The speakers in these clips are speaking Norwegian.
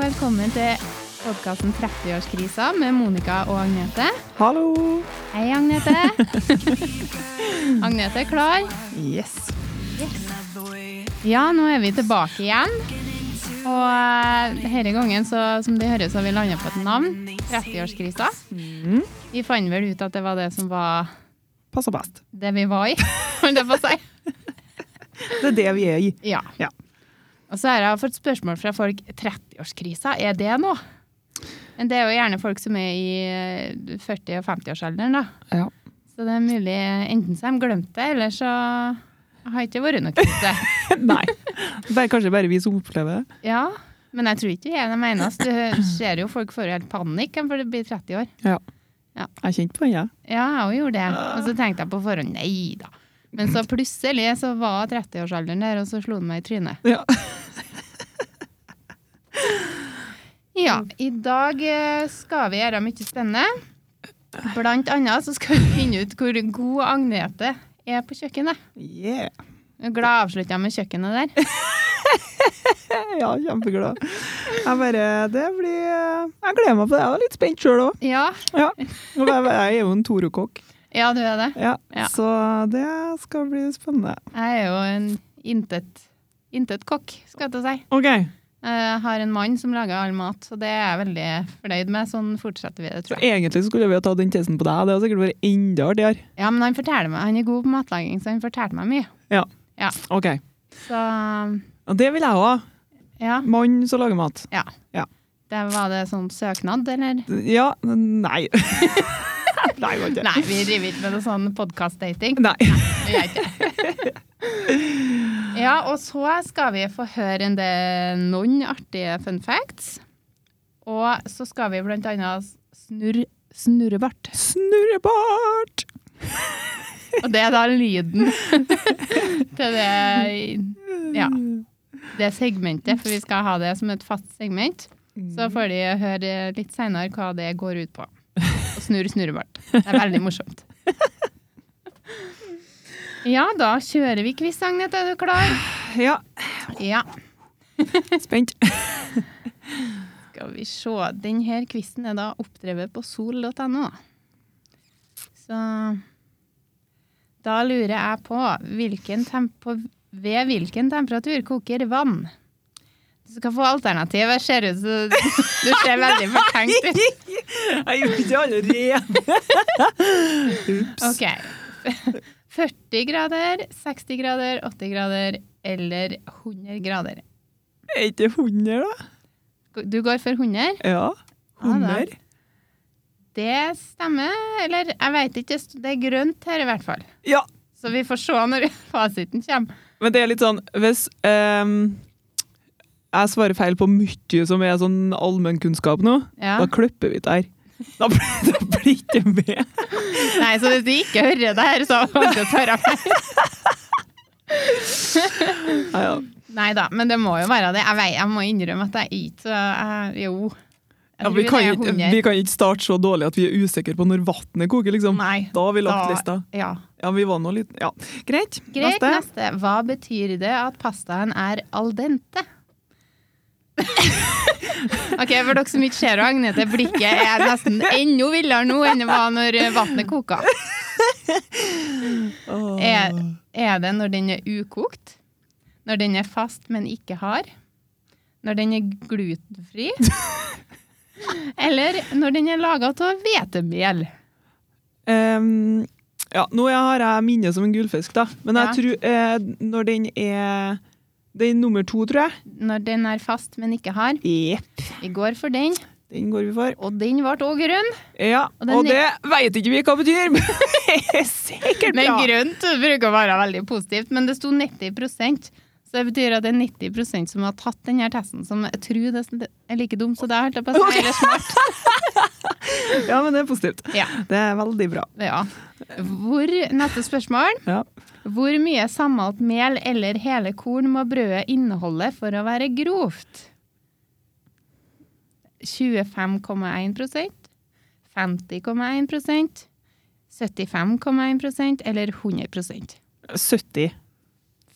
til podkasten 30-årskrisa med Monica og Agnete. Hallo! Hei, Agnete. Agnete, klar? Yes. Ja, nå er vi tilbake igjen. Og eh, denne gangen, så, som det høres, har vi landa på et navn. 30-årskrisa. Vi fant vel ut at det var det som var Passer best. det vi var i, holdt jeg på å si. Det er det vi er i. Ja. Ja. Og så har jeg fått spørsmål fra folk 30-årskrisa, er det noe? Men det er jo gjerne folk som er i eh, 40- og 50-årsalderen, da. Ja. Så det er mulig enten så har de glemt det, eller så har det ikke vært noe krise. Nei. Det er kanskje bare vi som opplever det. Ja, men jeg tror ikke jeg er den eneste. Du ser jo folk får jo helt panikk for det blir 30 år. Jeg kjente på den, jeg. Ja, jeg også gjorde det. Og så tenkte jeg på forhånd nei da. Men så plutselig så var 30-årsalderen der, og så slo den meg i trynet. Ja. Ja, i dag eh, skal vi gjøre mye spennende. Blant annet så skal vi finne ut hvor god Agnete er på kjøkkenet. Yeah. Jeg er Glad avslutta med kjøkkenet der. Ja, kjempeglad. Jeg bare Det blir Jeg gleder meg på det. Jeg er litt spent sjøl òg. Ja, Ja. Og Jeg jeg er jo en Toro-kokk, ja du er det. ja. Ja. så det skal bli spennende. Jeg er jo en intet, intet kokk, skal jeg til å si. OK. Jeg har en mann som lager all mat, så det er jeg veldig fornøyd med. Sånn fortsetter vi det, Så tror jeg. egentlig skulle vi ha tatt den testen på deg. Det hadde sikkert vært enda artigere. Ja, men han forteller meg, han er god på matlaging, så han fortalte meg mye. OK. Så Og det vil jeg òg. ja, Mann som lager mat. det var det sånn søknad, eller? Ja. Nei. Nei, det var ikke Nei, vi driver ikke med noe sånn podkast-dating. Nei. Vi gjør ikke det. Ja, og så skal vi få høre en del noen artige fun facts. Og så skal vi blant annet snurre snurrebart. Snurrebart! Og det er da lyden til det Ja. Det segmentet, for vi skal ha det som et fast segment. Så får de høre litt seinere hva det går ut på. Og snurr snurrebart. Det er veldig morsomt. Ja, da kjører vi quiz, Agnete. Er du klar? Ja, Ja. spent. Skal vi se. Denne quizen er da oppdrevet på sol.no. Så da lurer jeg på hvilken temp- på ved hvilken temperatur koker vann? Du skal få alternativer. Ser ut som Du ser veldig fortenkt ut. Jeg gjorde ikke allerede. Ups. OK. 40 grader, 60 grader, 80 grader eller 100 grader. Er ikke 100, da? Du går for 100? Ja. Ja, da. 100. Det stemmer. Eller jeg veit ikke. Det er grønt her i hvert fall. Ja, Så vi får se når fasiten kommer. men det er litt sånn Hvis ehm, jeg svarer feil på mye som er sånn allmennkunnskap nå, Ja. da klipper vi det her. Da blir da blir ikke med. Nei, så hvis du ikke hører det her, så kommer du til å tørre meg. Ja, ja. Nei da, men det må jo være det. Jeg, vet, jeg må innrømme at jeg er ikke så jeg- Jo. Jeg Ja, tror vi, det kan er ikke, 100. vi kan ikke starte så dårlig at vi er usikre på når vannet koker, liksom. Nei, Da har vi lagt da- lista. Ja. Ja, vi var nå litt Ja, greit. Greit, neste. Hva betyr det at pastaen er al dente? ok, For dere som ikke ser og Agnete, blikket er nesten enda villere nå enn det var når vannet koka. Åh. Er, er det når den er ukokt? Når den er fast, men ikke hard? Når den er glutenfri? Eller når den er laga av hvetemel? Ehm, ja, nå har jeg minnet som en gullfisk, da. Men jeg Ja. tror eh, når den er Den er nummer to, tror jeg. Når den er fast, men ikke hard. Jepp. Vi går for den, Den går vi for. og den ble òg grønn. Ja, Og og, den er- det veit ikke vi hva betyr, men det er sikkert Men bra. grønt bruker å være veldig positivt, men det sto 90 så det betyr at det er 90 som har tatt denne testen, som jeg tror det er like dum som deg. holdt jeg på å si, eller smart. Ja, men det er positivt. Ja. Det er veldig bra. Ja. Hvor, neste spørsmål. Ja. Hvor mye sammalt mel eller hele korn må brødet inneholde for å være grovt? 25,1 50,1 75,1 eller 100 70.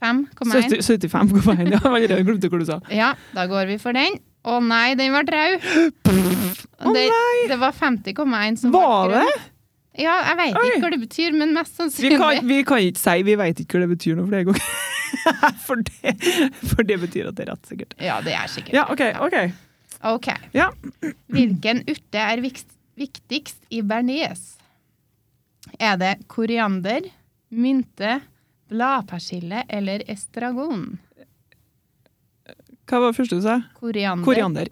5,1 70 75,1. Ja, jeg glemte hva du sa. Ja, da går vi for den. Å nei, den ble rød! Å Det, nei! det var 50,1 som Var det? Ja, jeg veit Oi. ikke hva det betyr, men mest Vi kan, sannsynlig. vi kan ikke si Vi veit ikke hva det betyr noe flere ganger. For det, for det betyr at det er rett, sikkert. Ja, det er sikkert. Ja, OK. ok. OK. Ja. Hvilken urte er vikst- viktigst i bearnés? Er det koriander, mynte, bladpersille eller estragon? Hva var det første du sa? Koriander. Koriander.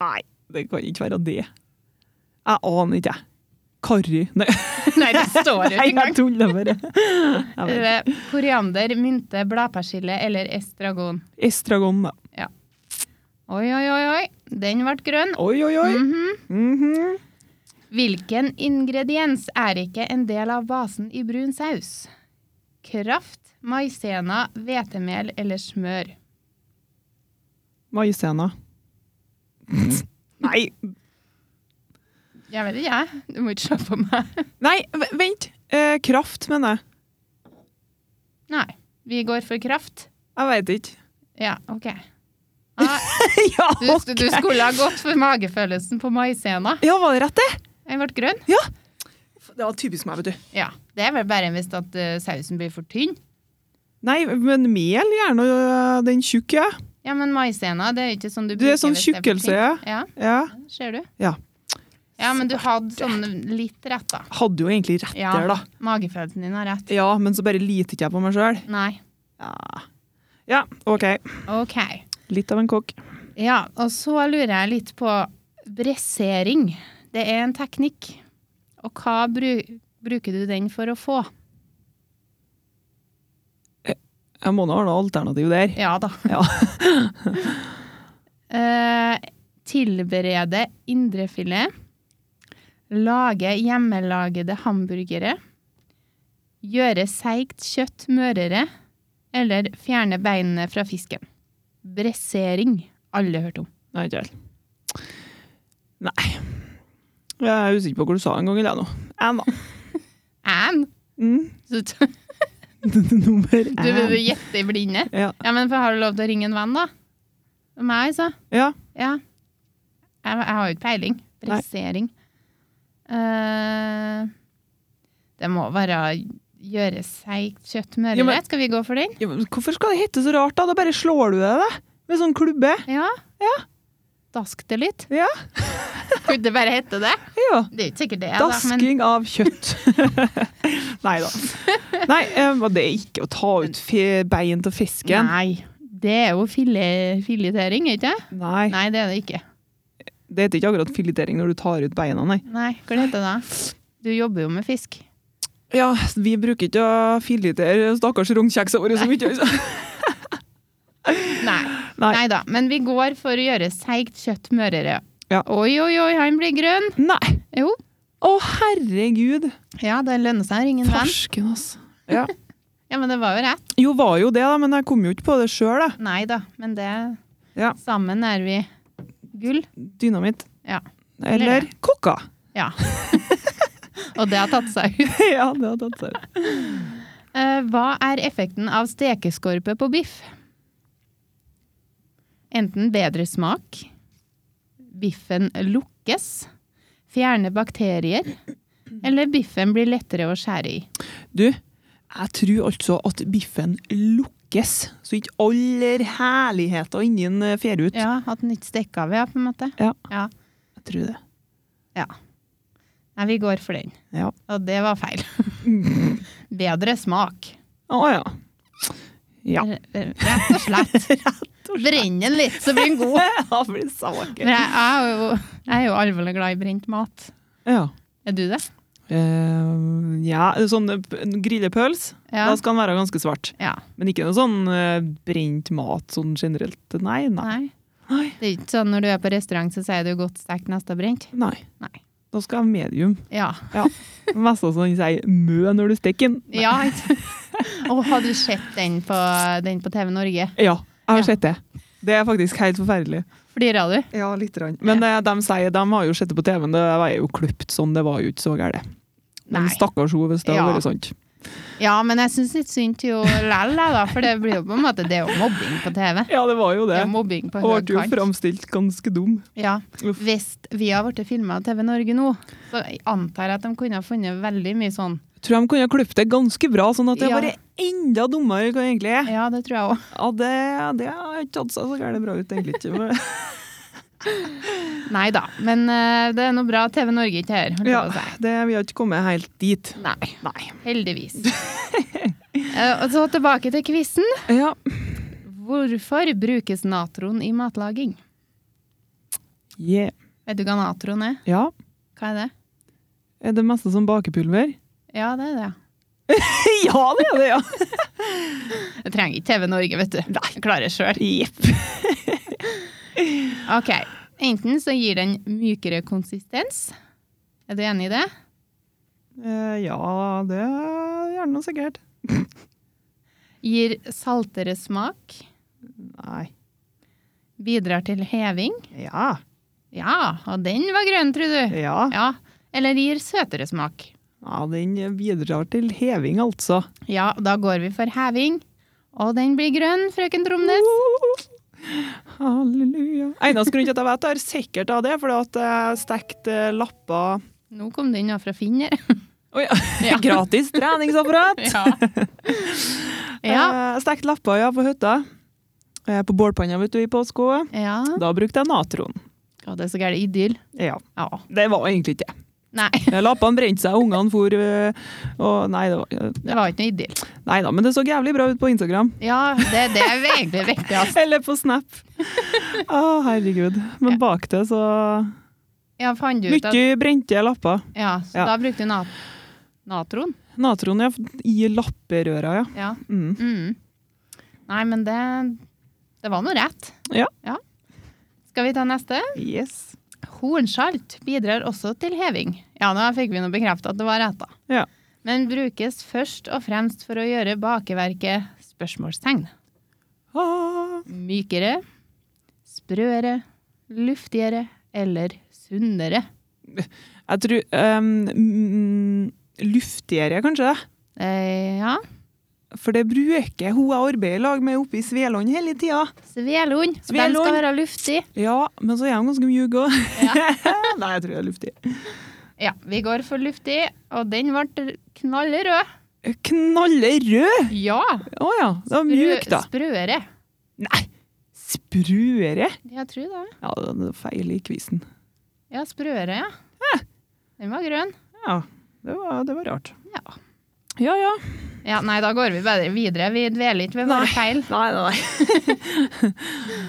Nei, Mm-hmm. Eh, Nei, det kan ikke være det. Jeg aner ikke, jeg. Karri. Nei, Nei, det står jo ikke Nei, jeg engang. tuller bare. Jeg vet. Er det Koriander, mynte, bladpersille eller estragon? Estragon, da. Oi, oi, oi, oi. Den ble grønn. Oi, oi, oi. Mhm. Mhm. Hvilken ingrediens er ikke en del av basen i brun saus? Kraft, maisena, hvetemel eller smør? Maisena. Mm-hmm. Nei, Jeg vet ikke, jeg. Du må ikke se på meg. Nei, v- vent. Eh, kraft, mener jeg. Nei. Vi går for kraft. Jeg veit ikke. Ja, OK. Ah, ja, du, ok. du skulle ha gått for magefølelsen på maisena. ja, var det rett, det? Den ble grønn. Det var typisk meg, vet du. Ja. Det er vel bare hvis at eh, sausen blir for tynn. Nei, men mel gjerne øh, den tjukke. ja. Ja, men maisena, det er ikke sånn du Det er sånn hvis det er for tjukkelse, ja. tynt. Ja, Ja. ser du. Ja. Ja, men du hadde sånn litt rett, da. Hadde jo egentlig rett Ja, der, da. Magefølelsen din har rett. Ja, men så bare liter ikke jeg på meg sjøl. Nei. Ja. ja, OK. OK. Litt av en kokk. Ja, og så lurer jeg litt på bressering. Det er en teknikk. Og hva bru bruker du den for å få? Jeg må nå ha noe alternativ der. Ja da. Ja. Eh, tilberede indrefilet. Lage hjemmelagede hamburgere. Gjøre seigt kjøtt mørere. Eller fjerne beinene fra fisken. Bressering. Alle hørt om. Nei, ikke helt. Nei. Jeg er usikker på hva du sa en gang i dag nå. En, da. And? Mm. Så t- Nummer Du vil én. gjette i blinde? Ehm. Ja. Ja, men for har du lov til å ringe en venn, da? Og meg, så? ja. Ja. Jeg, jeg har jo ikke peiling. Bressering. Eh, det må være gjøre seigt kjøtt mørere. Ja, men- Skal vi gå for den? Ja, men Hvorfor skal det hete så rart, da? Da bare slår du deg, da. Med sånn klubbe. Ja. Dask det litt. Ja. Kunne det bare hete det? ja. Det er jo ikke sikkert det. da, men- Dasking av kjøtt. Nei da. Nei, eh, var det ikke å ta ut fe bein til fisken? Nei. Det er jo file- filetering, ikke det? Nei. Nei, det er det ikke. Det heter ikke akkurat filetering når du tar ut beina, nei. Nei, Hva heter det da? Du jobber jo med fisk. Ja, vi bruker ikke å filetere stakkars rognkjeksa våre så mye. altså. Nei. Nei. Nei da. Men vi går for å gjøre seigt kjøtt mørere. Ja. Oi, oi, oi, han blir grønn! Nei. Jo. Å, herregud. Ja, det lønner seg å ringe en venn. Farsken, altså. Ja. Ja, men det var jo rett. Jo, var jo det, da, men jeg kom jo ikke på det sjøl, jeg. Nei da, men det Ja. Sammen er vi gull. Dynamitt. Ja. Eller Eller det. kokka. Ja. Og det har tatt seg ut. ja, det hadde tatt seg ut. Eh, hva er effekten av stekeskorpe på biff? Enten bedre smak, biffen lukkes, fjerne bakterier, eller biffen blir lettere å skjære i. Du, jeg tror altså at biffen lukkes, så ikke aller herligheter innen eh, fer ut. Ja, at den ikke stikker av, ja, på en måte. Ja. Ja. Jeg tror det. Nei, vi går for den. Ja. Og det var feil. bedre smak. Å ja. Ja. R- r- Rett og slett. Brenn den litt, så blir den god. Ja, for det sa jeg Men ikke. jeg, jeg, er jo, jeg er jo alvorlig glad i brent mat. Ja. Er du det? Eh, ja, sånn eh, p- grillepøls, Ja. da skal den være ganske svart. ja. Men ikke noe sånn eh, brent mat sånn generelt. Nei, nei. Nei. Nei. Det er ikke sånn når du er på restaurant, så sier du 'godt stekt, neste brent'. nei. Nei. Da skal jeg ha medium. Ja. Mest av sånn sier mø når du steker den. ja. Og har du sett den på, den på TV Norge? Ja, jeg har Ja. sett det. Det er faktisk helt forferdelig. Flirer du? Ja, litt. Rann. Men eh, de sier de har jo sett det på TV-en, det var jo klipt sånn, det var jo ikke så gærent. Men Nei. stakkars henne hvis det hadde Ja. vært sånt. Ja, men jeg syns litt synd til henne lell, jeg, da, for det blir jo på en måte det er jo mobbing på TV. Ja, det var jo Det det. er jo mobbing på Og høy ble jo kant. framstilt ganske dum. Ja. Uff. Hvis vi har blitt filma av TV Norge nå, så jeg antar jeg at de kunne ha funnet veldig mye sånn. Tror de kunne ha klippet det ganske bra, sånn at det Ja. bare er enda dummere hva det egentlig er. Ja, det tror jeg òg. Ja, det, det har ikke tatt seg så gærent bra ut, egentlig. ikke. Men- Nei da, men eh, det er nå bra TV Norge ikke er her. holdt jeg Ja, på å si. det, vi har ikke kommet helt dit. Nei, Nei. heldigvis. Eh, og så tilbake til quizen. Ja. Hvorfor brukes natron i matlaging? Yeah. Vet du hva natron er? ja. Hva er det? Er det meste som bakepulver? Ja, det er det. ja, det er det, ja! Jeg trenger ikke TV Norge, vet du. Nei. Jeg klarer sjøl. Jepp. Ok. Enten så gir den mykere konsistens. Er du enig i det? Eh, ja, det gjør det nå sikkert. Gir saltere smak. Nei. Bidrar til heving. Ja. Ja, og den var grønn, tror du. Ja. Ja. Eller gir søtere smak. ja den bidrar til heving, altså. Ja, da går vi for heving. Og den blir grønn, frøken Tromnes. Halleluja. Eneste grunn til at jeg vet det, er sikkert av det, fordi at jeg stekte eh, lapper Nå kom den av fra Finner. Oi, Gratis treningsapparat! ja. ja. Eh, Jeg stekte lapper ja, på hytta. Eh, På bålpanna vet du, i påska. Ja. Da brukte jeg natron. Å, det er så gærent idyll. Ja, Ja. Det var egentlig ikke det. Nei, Eh, Lappene brente seg, ungene for eh, og nei, det var, det var ikke noe idyll. nei da, men det så jævlig bra ut på Instagram. Ja, det, det er egentlig viktig, altså. Eller på Snap. Å, herregud. Men bak det så Ja, fant du ut at Mye brente lapper. Ja, så Ja. da brukte du nat natron. Natron ja, i lapperøra, ja. Ja. Mm. Mm. Nei, men det Det var nå rett. Ja. Skal vi ta neste? Yes. Hornsalt bidrar også til heving. Ja, nå fikk vi nå bekrefta at det var rett, da. Ja. Men brukes først og fremst for å gjøre bakeverket spørsmålstegn. Ah, Mykere, sprøere, luftigere eller sunnere. jeg tror ehm, mm, Luftigere, kanskje? Eh, ja. For det bruker hun jeg arbeider i lag med oppe i Svelånd hele tida. Svelund. og Den Svelund. skal være luftig. Ja, men så er de ganske mjuke òg. Nei, jeg tror jeg er luftig. Ja, vi går for luftig, og den ble knallrød. Knallerød! Ja! Å ja. Det var mjuk, da. Sprøere. Nei, spruere? Jeg tror det. Ja, det er feil i quizen. Ja, sprøere, ja. Den var grønn. Ja, det var, det var rart. Ja. Ja, ja. ja. Nei, da går vi bare videre. Vi dveler ikke ved våre Nei. feil. Nei, nei, nei.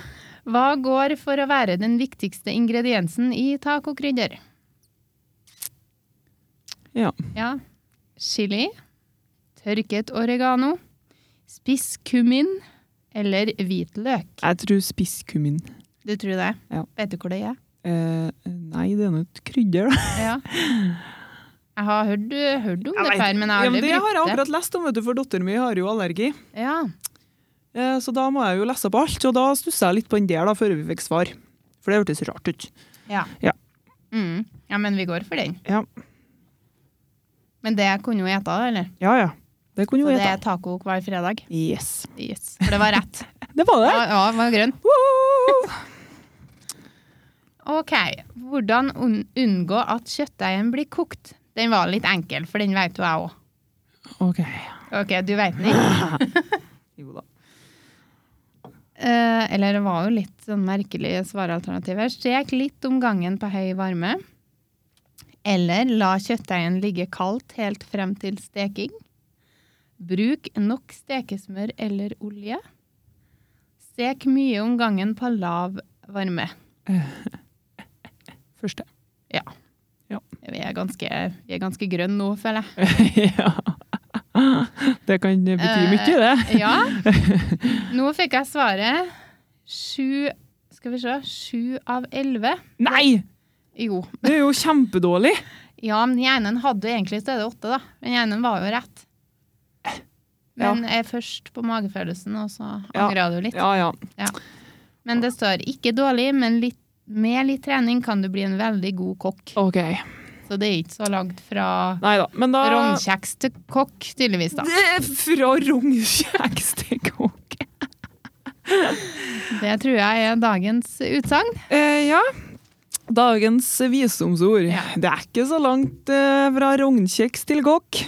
Hva går for å være den viktigste ingrediensen i tacokrydder? Ja. Ja. Chili, tørket oregano, spiss kummin eller hvitløk. Jeg tror spisskummin. Du tror det? Ja. Vet du hvor det er? Eh, nei, det er nå et krydder, da. Ja. Jeg har hørt, hørt om Jeg det vet- før, men jeg har Ja, men aldri det har jeg brukt det. akkurat lest om, vet du, for datteren min har jo allergi. Ja. Eh, så da må jeg jo lese på alt, og da stussa jeg litt på den der da, før vi fikk svar. For det hørtes rart ut. Ja. Ja. Mm. ja, men vi går for den. Ja, Men det kunne jo ete, da, eller? ja. ja. Det kunne Så jo det er hete. taco hver fredag. Yes. Yes. For det var rett. Det var det! Ja, ja, det var grønn. Wow! OK. Hvordan un unngå at kjøttdeigen blir kokt? Den var litt enkel, for den vet jo jeg òg. OK. OK, du vet den ikke? Jo da. Eh, eller det var jo litt sånn merkelige svaralternativer. Stek litt om gangen på høy varme. Eller la kjøttdeigen ligge kaldt helt frem til steking. Bruk nok stekesmør eller olje. Stek mye om gangen på lav varme. Første. Vi er ganske, vi er ganske grønne nå, føler jeg. ja. Det kan bety Eh. mye, det. Ja. Nå fikk jeg svaret. Sju Skal vi se. Sju av elleve. Nei! Jo. Det er jo kjempedårlig. Ja, men den ene hadde jo egentlig stedet åtte, da. Den ene var jo rett. Men jeg er først på magefølelsen, og så Ja. angrer du litt. Ja, ja. Men det står ikke dårlig, men litt, med litt trening kan du bli en veldig god kokk. OK. Så så det er ikke så langt fra Nei da. Men da rognkjeks til kokk, tydeligvis, da. Det er Eh, Fra rognkjeks til kokk. Det tror jeg er dagens utsagn. Eh, ja. Dagens visdomsord. Ja. Det er ikke så langt eh, fra rognkjeks til kokk.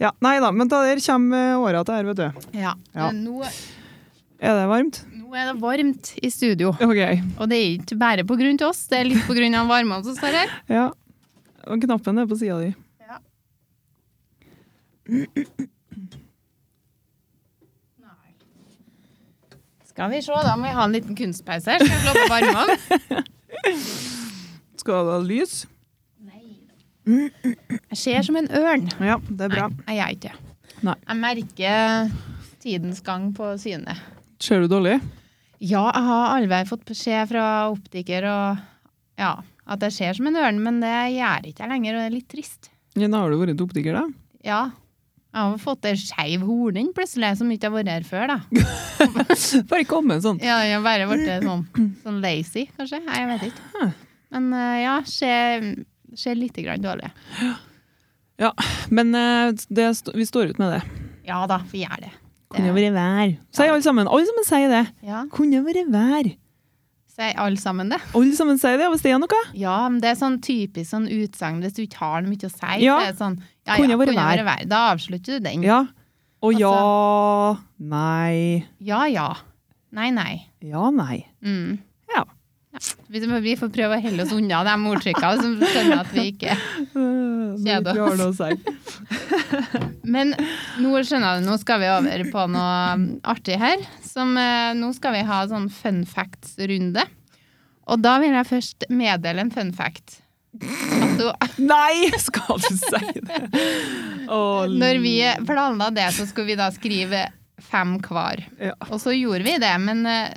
ja, nei da, men da der kommer eh, åra til her, vet du. Ja. Ja. Men Nå, Er det varmt? nå er det varmt i studio, OK. og det er ikke bare på grunn til oss, det er litt på grunn av varmen som står her. Ja. Og Knappen er på sida di. Ja. Skal vi se, da må vi ha en liten kunstpause her. Skal jeg slå på varmen? Skal du ha lys? Jeg ser som en ørn. Ja, det er bra. Nei, jeg er ikke det. Nei. Jeg merker tidens gang på synet. Ser du dårlig? Ja, jeg har allvei fått beskjed fra optiker og ja, at jeg ser som en ørn, men det gjør ikke jeg lenger, og det er litt trist. Ja, da har du vært til optiker, da. Ja. Jeg har fått ei skeiv horning plutselig, som ikke har vært her før, da. Bare komme sånn. Ja, jeg har bare blitt sånn, sånn lazy, kanskje. Nei, Jeg vet ikke. Men eh, ja, ser, ser litt grann dårlig. Men eh, det, st- vi står ut med det. Ja da, vi gjør det. Kunne vært vær. Sier alle sammen. Alle sammen sier det. Ja, Kunne vært vær. Sier alle sammen det? Alle sammen liksom, sier det, hvis det er noe. Ja, men det er sånn typisk sånn utsagn hvis du ikke har noe mye å si. Ja. Så er det sånn, ja, ja, Kunne kunne vært vært vær. vær. Da avslutter du den. Ja, Ja. Og Altså- ja, nei, ja. Nei, nei. ja, nei. Mm. Ja. Vi, vi får prøve å helle oss unna de ordtrykkene som skjønner at vi ikke Øh, Kjede altså. Kjede oss. Si. Men nå skjønner du, nå skal vi over på noe um, artig her. Som, eh, nå skal vi ha sånn fun facts-runde. Og da vil jeg først meddele en fun fact. At du, Nei, skal du si det? Å, når vi planla det, så skulle vi da skrive fem hver. ja. Og så gjorde vi det, men eh,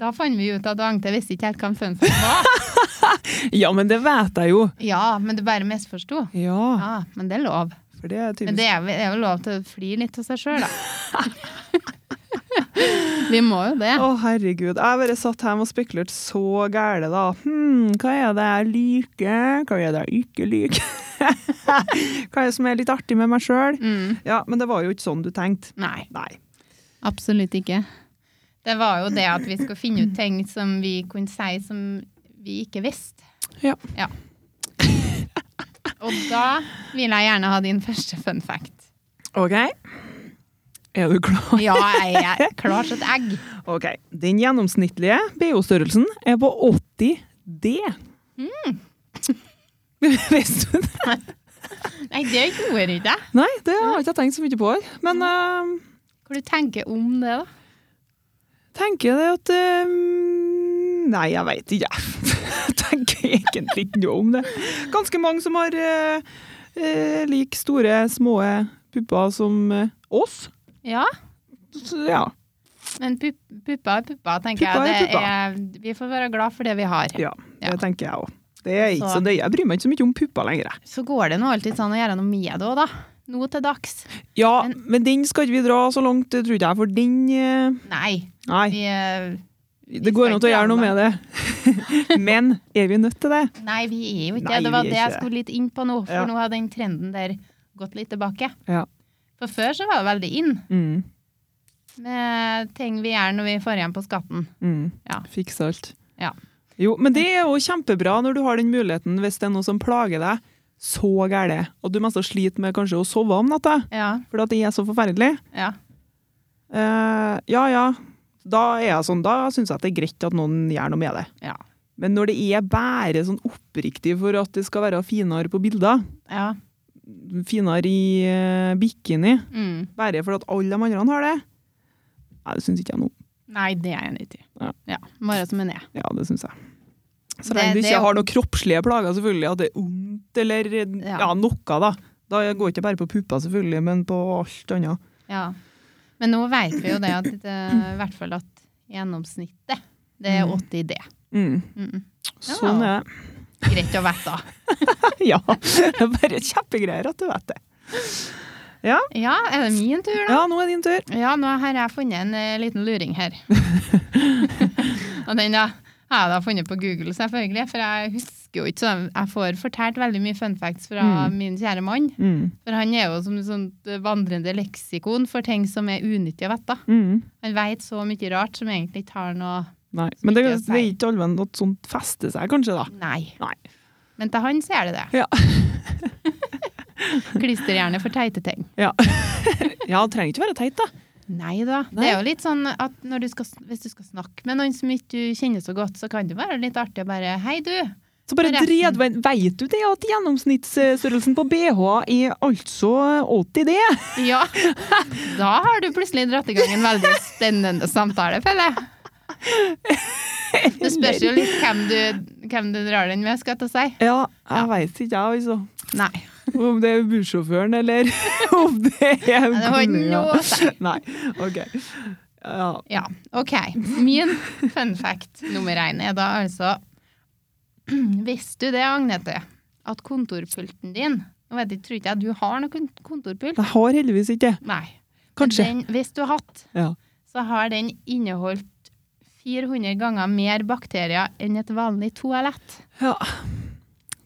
da fant vi ut at Agnete visste ikke helt hva en fun fact var. ja, men det vet jeg jo. Ja, men du bare misforsto. Ja, Ja, men det er lov. for det er Men typisk. det er, vel- det er jo lov til å flire litt av seg sjøl, da. vi må jo det. Å, herregud. Jeg bare satt hjemme og spekulerte så gæle, da. Hm, hva er det jeg liker? Hva er det jeg ikke liker? hva er det som er litt artig med meg sjøl? Mm. Ja, men det var jo ikke sånn du tenkte. Nei, Nei. absolutt ikke. Det var jo det at vi skulle finne ut ting som vi kunne si som vi ikke visste. Ja. Og da vil jeg gjerne ha din første fun fact. OK. Er du klar? Ja, jeg er klar som et egg. Ok, Den gjennomsnittlige BO-størrelsen er på 80 D. Mm. Visste du det? Nei, det gjorde jeg ikke. Nei, det har jeg ikke tenkt så mye på. Men ehm, jeg Hva du tenker du om det, da? tenker det at eh, Nei, jeg veit ikke. Jeg tenker egentlig ikke noe om det. Ganske mange som har eh, eh, like store, små pupper som eh, oss. Ja, Så, ja. men pup- puppa er puppa, tenker Puppa er jeg. Det er, vi får være glad for det vi har. ja. Det Ja. tenker jeg òg. Det er ikke Så- så det, jeg bryr meg ikke så mye om pupper lenger. jeg. Så går det nå alltid sånn å gjøre noe med det òg, da. Nå til dags. Ja, Men- men den skal ikke vi dra så langt, det tror ikke jeg, for den eh, Nei. Nei. Vi, eh, Det går an å gjøre noe med det. Men er vi nødt til det? Nei, vi er jo ikke Nei, det. Det vi var er det ikke jeg det. skulle litt inn på nå, for Ja. nå har den trenden der gått litt tilbake. Ja. For før så var det veldig inn Mm. med ting vi gjør når vi får igjen på skatten. Mm. Ja. Fikse alt. Ja. Jo, men det er jo kjempebra når du har den muligheten hvis det er noe som plager deg så gæle, og du mest sliter med kanskje å sove om natta, Ja, fordi at det er så forferdelig. ja. Eh, ja, ja. Da er jeg sånn, da syns jeg at det er greit at noen gjør noe med det. Ja. Men når det er bare sånn oppriktig for at det skal være finere på bilder, ja. finere i eh, bikini, Mm. bare fordi at alle de andre har det, nei, det syns ikke jeg noe Nei, det er jeg enig i. Ja. Ja. Bare som en er. Ja, det syns jeg. Så Det- lenge du det- ikke har noen kroppslige plager, selvfølgelig, at det er vondt eller ja. Ja. noe, da. Da går det ikke bare på pupper, selvfølgelig, men på alt annet. Ja. Men nå vet vi jo det at eh, i hvert fall at gjennomsnittet, det er Mm. 80 D. Mm. Mm. Sånn er det. Greit å vite, da. ja. Det er bare kjempegreier at du vet det. Ja, er det min tur, da? Ja, nå er din tur. Ja, nå har jeg funnet en eh, liten luring her. og den da, har jeg da funnet på Google, selvfølgelig, for jeg husker husker jo ikke, så jeg får fortalt veldig mye fun facts fra Mm. min kjære mann. Mm. For han er jo som et sånt eh, vandrende leksikon for ting som er unyttig å vite. Mm. Han veit så mye rart som egentlig ikke har noe Nei. Men det, Ikke å si. det er ikke alven at sånt fester seg, kanskje, da. Nei. Nei. Men til han så er det det. Ja. Klister gjerne for teite ting. Ja, det trenger ikke være teit, da. Nei da. Det Nei. er jo litt sånn at når du skal, hvis du skal snakke med noen som ikke du kjenner så godt, så kan det være litt artig å bare Hei, du. Så bare Resten. dred, Veit du det at gjennomsnittsstørrelsen på BH er altså 80D? Ja. Da har du plutselig dratt i gang en veldig spennende samtale, føler jeg. Det spørs jo litt hvem du, hvem du drar den med, skal jeg til å si. Ja, jeg veit ikke, jeg, altså. Nei. Om det er bussjåføren, eller om det er Det har ikke kommunen, ja. noe å si. Nei, OK. Ja. Ja, OK. Min fun fact nummer én er da altså Visste du det, Agnete, at kontorpulten din Nå vet jeg, tror ikke jeg du har noen kon- kontorpult. Jeg har heldigvis ikke det. Nei. Kanskje. Den, hvis du har hatt, Ja. så har den inneholdt 400 ganger mer bakterier enn et vanlig toalett. ja.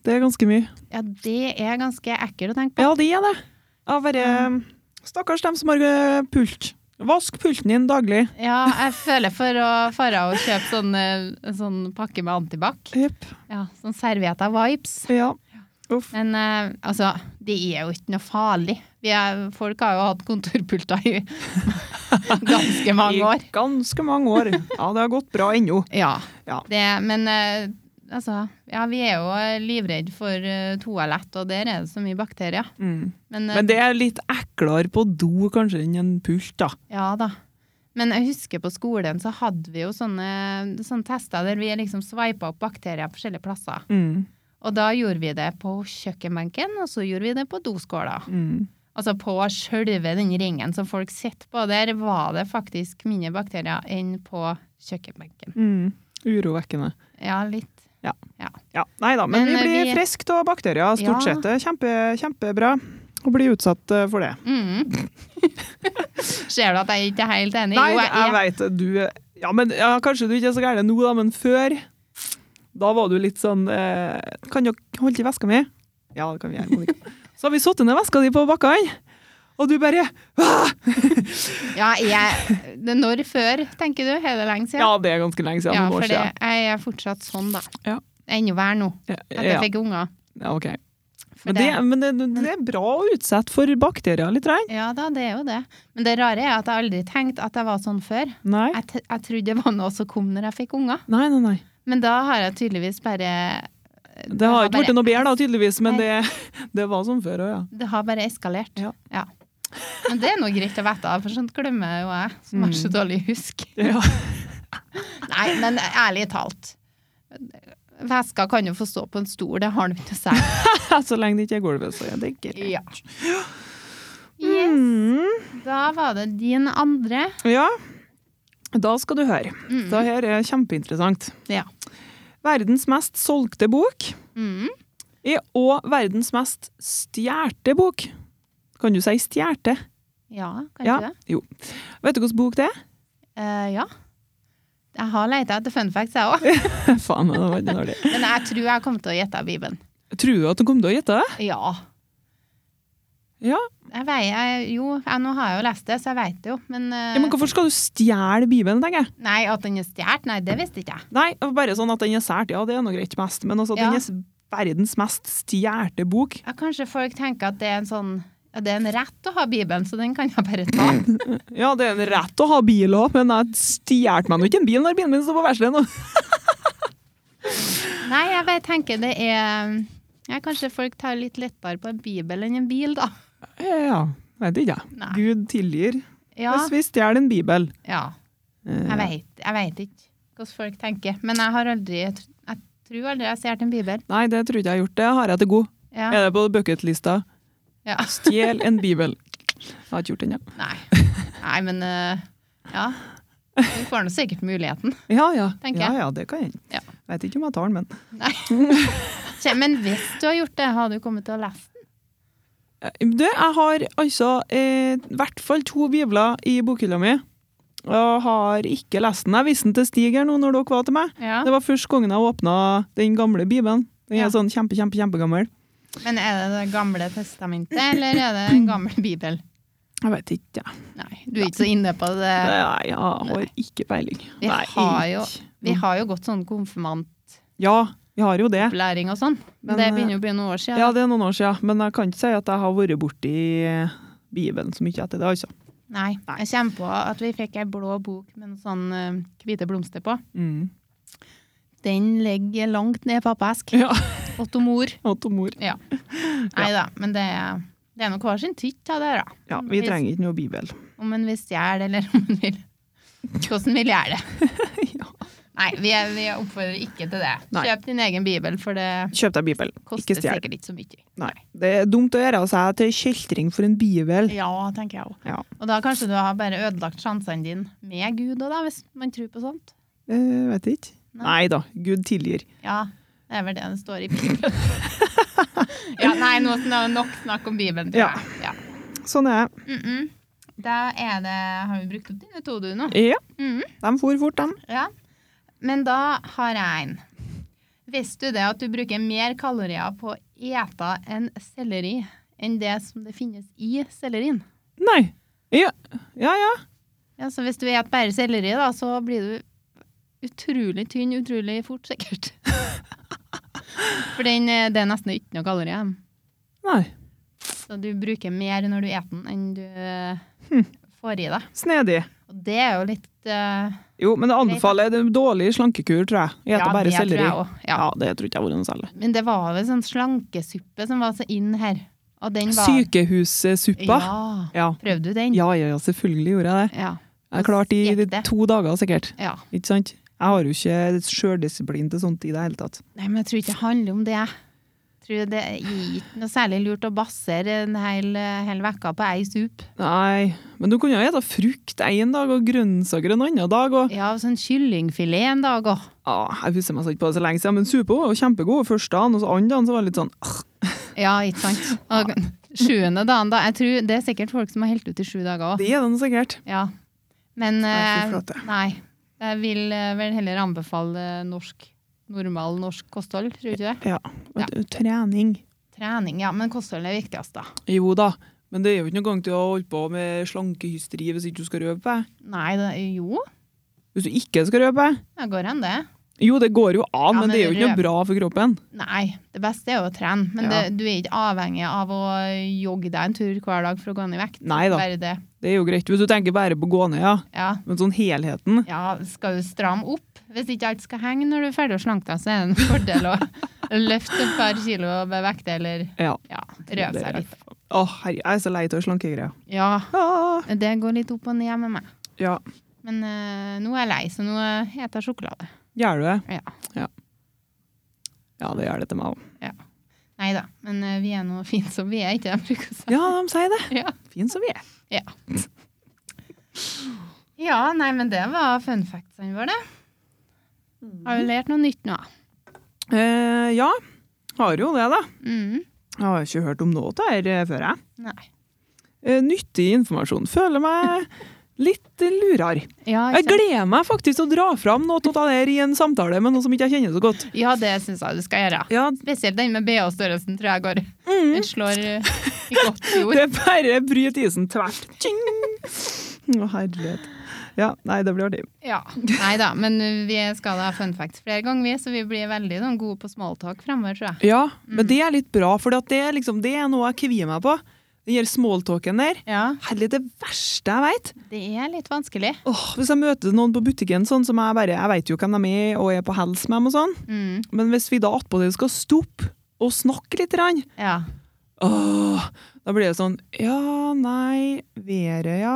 Det er ganske mye. Ja, det er ganske ekkelt å tenke på. Ja, det er det. Ja, bare Stakkars dem som har eh, pult. Vask pulten din daglig. Ja, jeg føler for å fare og kjøpe sånn, eh, sånn pakke med antibac. Jepp. Ja, sånn servietter, vipes. Ja. Uff. Men eh, altså, det er jo ikke noe farlig. Vi er, folk har jo hatt kontorpulter i ganske mange år. I ganske mange år. Ja, det har gått bra ennå. Ja. Ja. Det, men eh, altså, ja, vi er jo livredde for eh, toalett, og der er det så mye bakterier. Mm. Men, eh, Men det er litt eklere på do kanskje enn en pult, da. ja da. Men jeg husker på skolen så hadde vi jo sånne, sånne tester der vi liksom sveipa opp bakterier på forskjellige plasser. Mm. Og da gjorde vi det på kjøkkenbenken, og så gjorde vi det på doskåla. Mm. Altså på sjølve den ringen som folk sitter på, der var det faktisk mindre bakterier enn på kjøkkenbenken. Mm. Urovekkende. Ja, litt. Ja, Nei da, men, Men, vi blir eh, vi- friske av bakterier stort Ja. sett. Det er Kjempe, kjempebra å bli utsatt eh, for det. Mm. Ser du at jeg ikke er helt enig? Nei, Jo, jeg, jeg, veit du ja, men, ja, Kanskje du ikke er så gæren nå, da, men før Da var du litt sånn eh, Kan dere holde i veska mi? Ja, det kan vi gjøre, Monica. Så har vi satt ned veska di på bakkene, og du bare ja, jeg, det er når før, tenker du? Er det lenge Ja, siden? det er ganske lenge siden. noen år for det, siden. jeg er fortsatt sånn, da. Ja. Enda verre nå, Ja, etter jeg fikk unger. ja, ok. For Men, det, men det, det er bra å utsette for bakterier litt, rein. ja da, det er jo det. Men det rare er at jeg aldri tenkte at jeg var sånn før. Nei. Jeg, t jeg trodde det var noe som kom når jeg fikk unger. Nei, nei, nei. Men da har jeg tydeligvis bare Det har var ikke bare- blitt noe bedre, da, tydeligvis, men det, det var som før òg, ja. Det har bare eskalert. Ja. Men det er noe greit å vite, for sånt glemmer jo jeg, som har Mm. så dårlig husk. ja. Nei, men ærlig talt. Veska kan jo få stå på en stol, det har den ikke å si. Så lenge det ikke er gulvet, så er det greit. Ja. Yes. Mm. Da var det din andre. Ja, da skal du høre. Det her er kjempeinteressant. Ja. Verdens mest solgte bok Mm. er òg verdens mest stjålne bok. Kan du si stjålne? Ja, kanskje Ja. det? Jo. Vet du hvilken bok det er? Eh, ja. Jeg har leita etter fun facts, jeg òg. Faen, det var ikke dårlig. Men jeg tror jeg kommer til å gjette Bibelen. Tror du at du kom til å gjette det? Ja. Ja. Jeg vei, jeg, jo, jeg, nå har jeg jo lest det, så jeg veit det jo. Men, eh, ja. Men hvorfor skal du stjele Bibelen, tenker jeg? nei, at den er stjålet, nei, det visste ikke jeg. Nei, bare sånn at den er sært, ja, det er nå greit mest, men altså, at Ja. den er verdens mest stjålne bok. Ja, kanskje folk tenker at det er en sånn ja, det er en rett å ha Bibelen, så den kan jeg bare ta. Ja, det er rett å ha bil òg, men jeg stjal meg nå ikke en bil når bilen min står på verkstedet. nå. Nei, jeg bare tenker det er ja, Kanskje folk tar litt lettere på en bibel enn en bil, da. Ja, vet ikke jeg. Nei. Gud tilgir Ja, hvis vi stjeler en bibel. ja Eh, jeg veit jeg vet ikke hvordan folk tenker. Men jeg har aldri Jeg tr- jeg tror aldri jeg har stjålet en bibel. Nei, det tror ikke jeg har gjort. Det har jeg til god. Ja. Er det på bucketlista? ja. Stjel en bibel. Jeg har ikke gjort den, ja. Nei. Nei, men eh, ja. Du får nå sikkert muligheten. Ja, ja. Tenker ja, jeg. ja det kan hende. Ja. Vet ikke om jeg tar den, men Nei. Kje- Men hvis du har gjort det, har du kommet til å lese den? Eh, Du, jeg har altså eh, i hvert fall to bibler i bokhylla mi. Og har ikke lest den. Jeg viste den til Stig her nå når dere var til meg. Ja. Det var først gangen jeg åpna den gamle bibelen. Den Ja. er sånn kjempe, kjempe, kjempegammel. Men er det Det gamle testamentet, eller er det en gammel bibel? Jeg vet ikke, jeg. Nei, du er ikke så inne på det. Nei, jeg har ikke peiling. Eh. Vi Nei, har jo- ikke. Vi har jo gått sånn konfirmantopplæring Ja, vi har jo det. og sånn. Men Men, det begynner jo å bli noen år siden. Ja, det er noen år siden, men jeg kan ikke si at jeg har vært borti Bibelen så mye etter det, altså. Nei. Jeg kommer på at vi fikk ei blå bok med noen sånn eh, hvite blomster på. Mm. Den ligger langt ned i pappesk. Ja, Åtto mor. og til mor. Nei da, men det, er- det er nok hver sin tytt av det, her, da. Ja, vi trenger ikke noe Bibel. Om en vil stjele, eller om en vil Hvordan vil gjøre det? Ja. Nei, vi, er, vi oppfordrer ikke til det. Nei. Kjøp din egen bibel, for det Kjøp deg Bibel, koster ikke stjel. sikkert ikke så mye. Nei. Det er dumt å gjøre seg til kjeltring for en Bibel. Ja, tenker jeg òg. Ja. Og da kanskje du har bare ødelagt sjansene dine med Gud òg, da, hvis man tror på sånt. Eh, vet ikke. Nei. Nei da, Gud tilgir. Ja, det er vel det det står i Bibelen. ja, nei, nå er det nok snakk om Bibelen, tror Ja. jeg. Ja. Sånn er det. Mm -mm. Da er det Har vi brukt opp dine to, du, nå? Ja, Mm de for fort, de. Ja. Men da har jeg en. Visste du det at du bruker mer kalorier på å ete en selleri enn det som det finnes i sellerien? Nei. Ja, ja. ja. Ja, så hvis du spiser bare selleri, da, så blir du utrolig tynn utrolig fort, sikkert. For den, eh, det er nesten ikke noe kalorier. i dem. Nei. Så du bruker mer når du spiser den, enn du eh, Hm. får i deg. Snedig. Og det er jo litt eh, Jo, men det anbefaler det er en dårlig slankekur, tror jeg. Jeg ja, eter bare det tror selleri. jeg også. Ja. Ja. det tror ikke jeg har vært noe særlig. Men det var vel sånn slankesuppe som var så inn her. Og den var Sykehussuppa. Ja. Ja. Prøvde du den? Ja, ja, ja, selvfølgelig gjorde jeg det. Ja. Jeg klarte i Stekte. to dager sikkert. ja. Ikke sant? Jeg har jo ikke sjøldisiplin til sånt i det hele tatt. Nei, men jeg tror ikke det handler om det. Jeg tror det er ikke noe særlig lurt å basere en hel, hel vekka på ei sup. Nei, men du kunne jo spise frukt en dag og grønnsaker en annen dag. Og, Ja, og sånn kyllingfilet en dag òg. ah, jeg husker meg så ikke på det så lenge siden, men supa var jo kjempegod første dagen, og så andre dagen så var det litt sånn ah, Ja, ikke sant. Og sjuende dagen, da. Jeg tror det er sikkert folk som har helt ut i sju dager òg. Det er den sikkert. Ja. Men Nei, fy eh, flate. nei. Jeg vil eh, vel heller anbefale norsk, normal norsk kosthold, tror du ikke det? Ja. Vet du, Trening. Trening, ja. Men kosthold er viktigst, da. Jo da, men det er jo ikke noen gang til å holde på med slankehysteri hvis ikke du skal røpe deg. Nei, det, jo. Hvis du ikke skal røpe deg Det går an, det. Jo, det går jo an, Ja, men men det er jo ikke røp- noe bra for kroppen. Nei, det beste er jo å trene, men Ja. det, du er ikke avhengig av å jogge deg en tur hver dag for å gå ned i vekt. Nei da. Bare det. Det er jo greit hvis du tenker bare på å gå ned, ja. Ja. Men sånn helheten ja, skal du stramme opp? Hvis ikke alt skal henge når du er ferdig å slanke deg, så er det en fordel å løfte et par kilo med vekt eller Ja. ja, røve Det seg er- litt. Å, herre, jeg er så lei av slankegreier. Ja, Ah, det går litt opp og ned med meg. ja, Men eh, nå er jeg lei, så nå eh, heter jeg sjokolade. gjør du det? Ja. Ja, det gjør det til meg òg. Nei da, men eh, vi er nå fine som vi er, ikke det jeg bruker å si. Ja, de sier det. Ja. Fin som vi er. ja, nei, men det var fun factsene våre, det. Mm. Har vi lært noe nytt nå? Eh, ja, har jo det, da. Mm. Jeg har ikke hørt om noe av det her eh, før, jeg. Nei. Eh, nyttig informasjon. Føler meg litt lurere. Ja, Jeg ikke sant? gleder meg faktisk til å dra fram noe av det her i en samtale med noen som ikke jeg kjenner så godt. ja, det syns jeg du skal gjøre. Ja, Spesielt den med BH-størrelsen tror jeg går mm, Den slår eh, i godt jord. det bare bryter isen tvert. Tjing! Å, herlighet. Ja, nei, det blir artig. Ja. Nei da, men eh, vi skal ha fun facts flere ganger, vi, så vi blir veldig sånn, gode på smalltalk fremover, tror jeg. Ja, Mm. men det er litt bra, for det er, liksom, det er noe jeg kvier meg på. Den der smalltalken der. Ja, Herlig, det verste jeg veit. det er litt vanskelig. Hvis jeg møter noen på butikken sånn som jeg bare Jeg veit jo hvem de er, og er på hels med dem og sånn. Mm, Men hvis vi da attpåtil skal stoppe og snakke litt, rann, ja. åh, da blir det sånn Ja, nei, været, ja.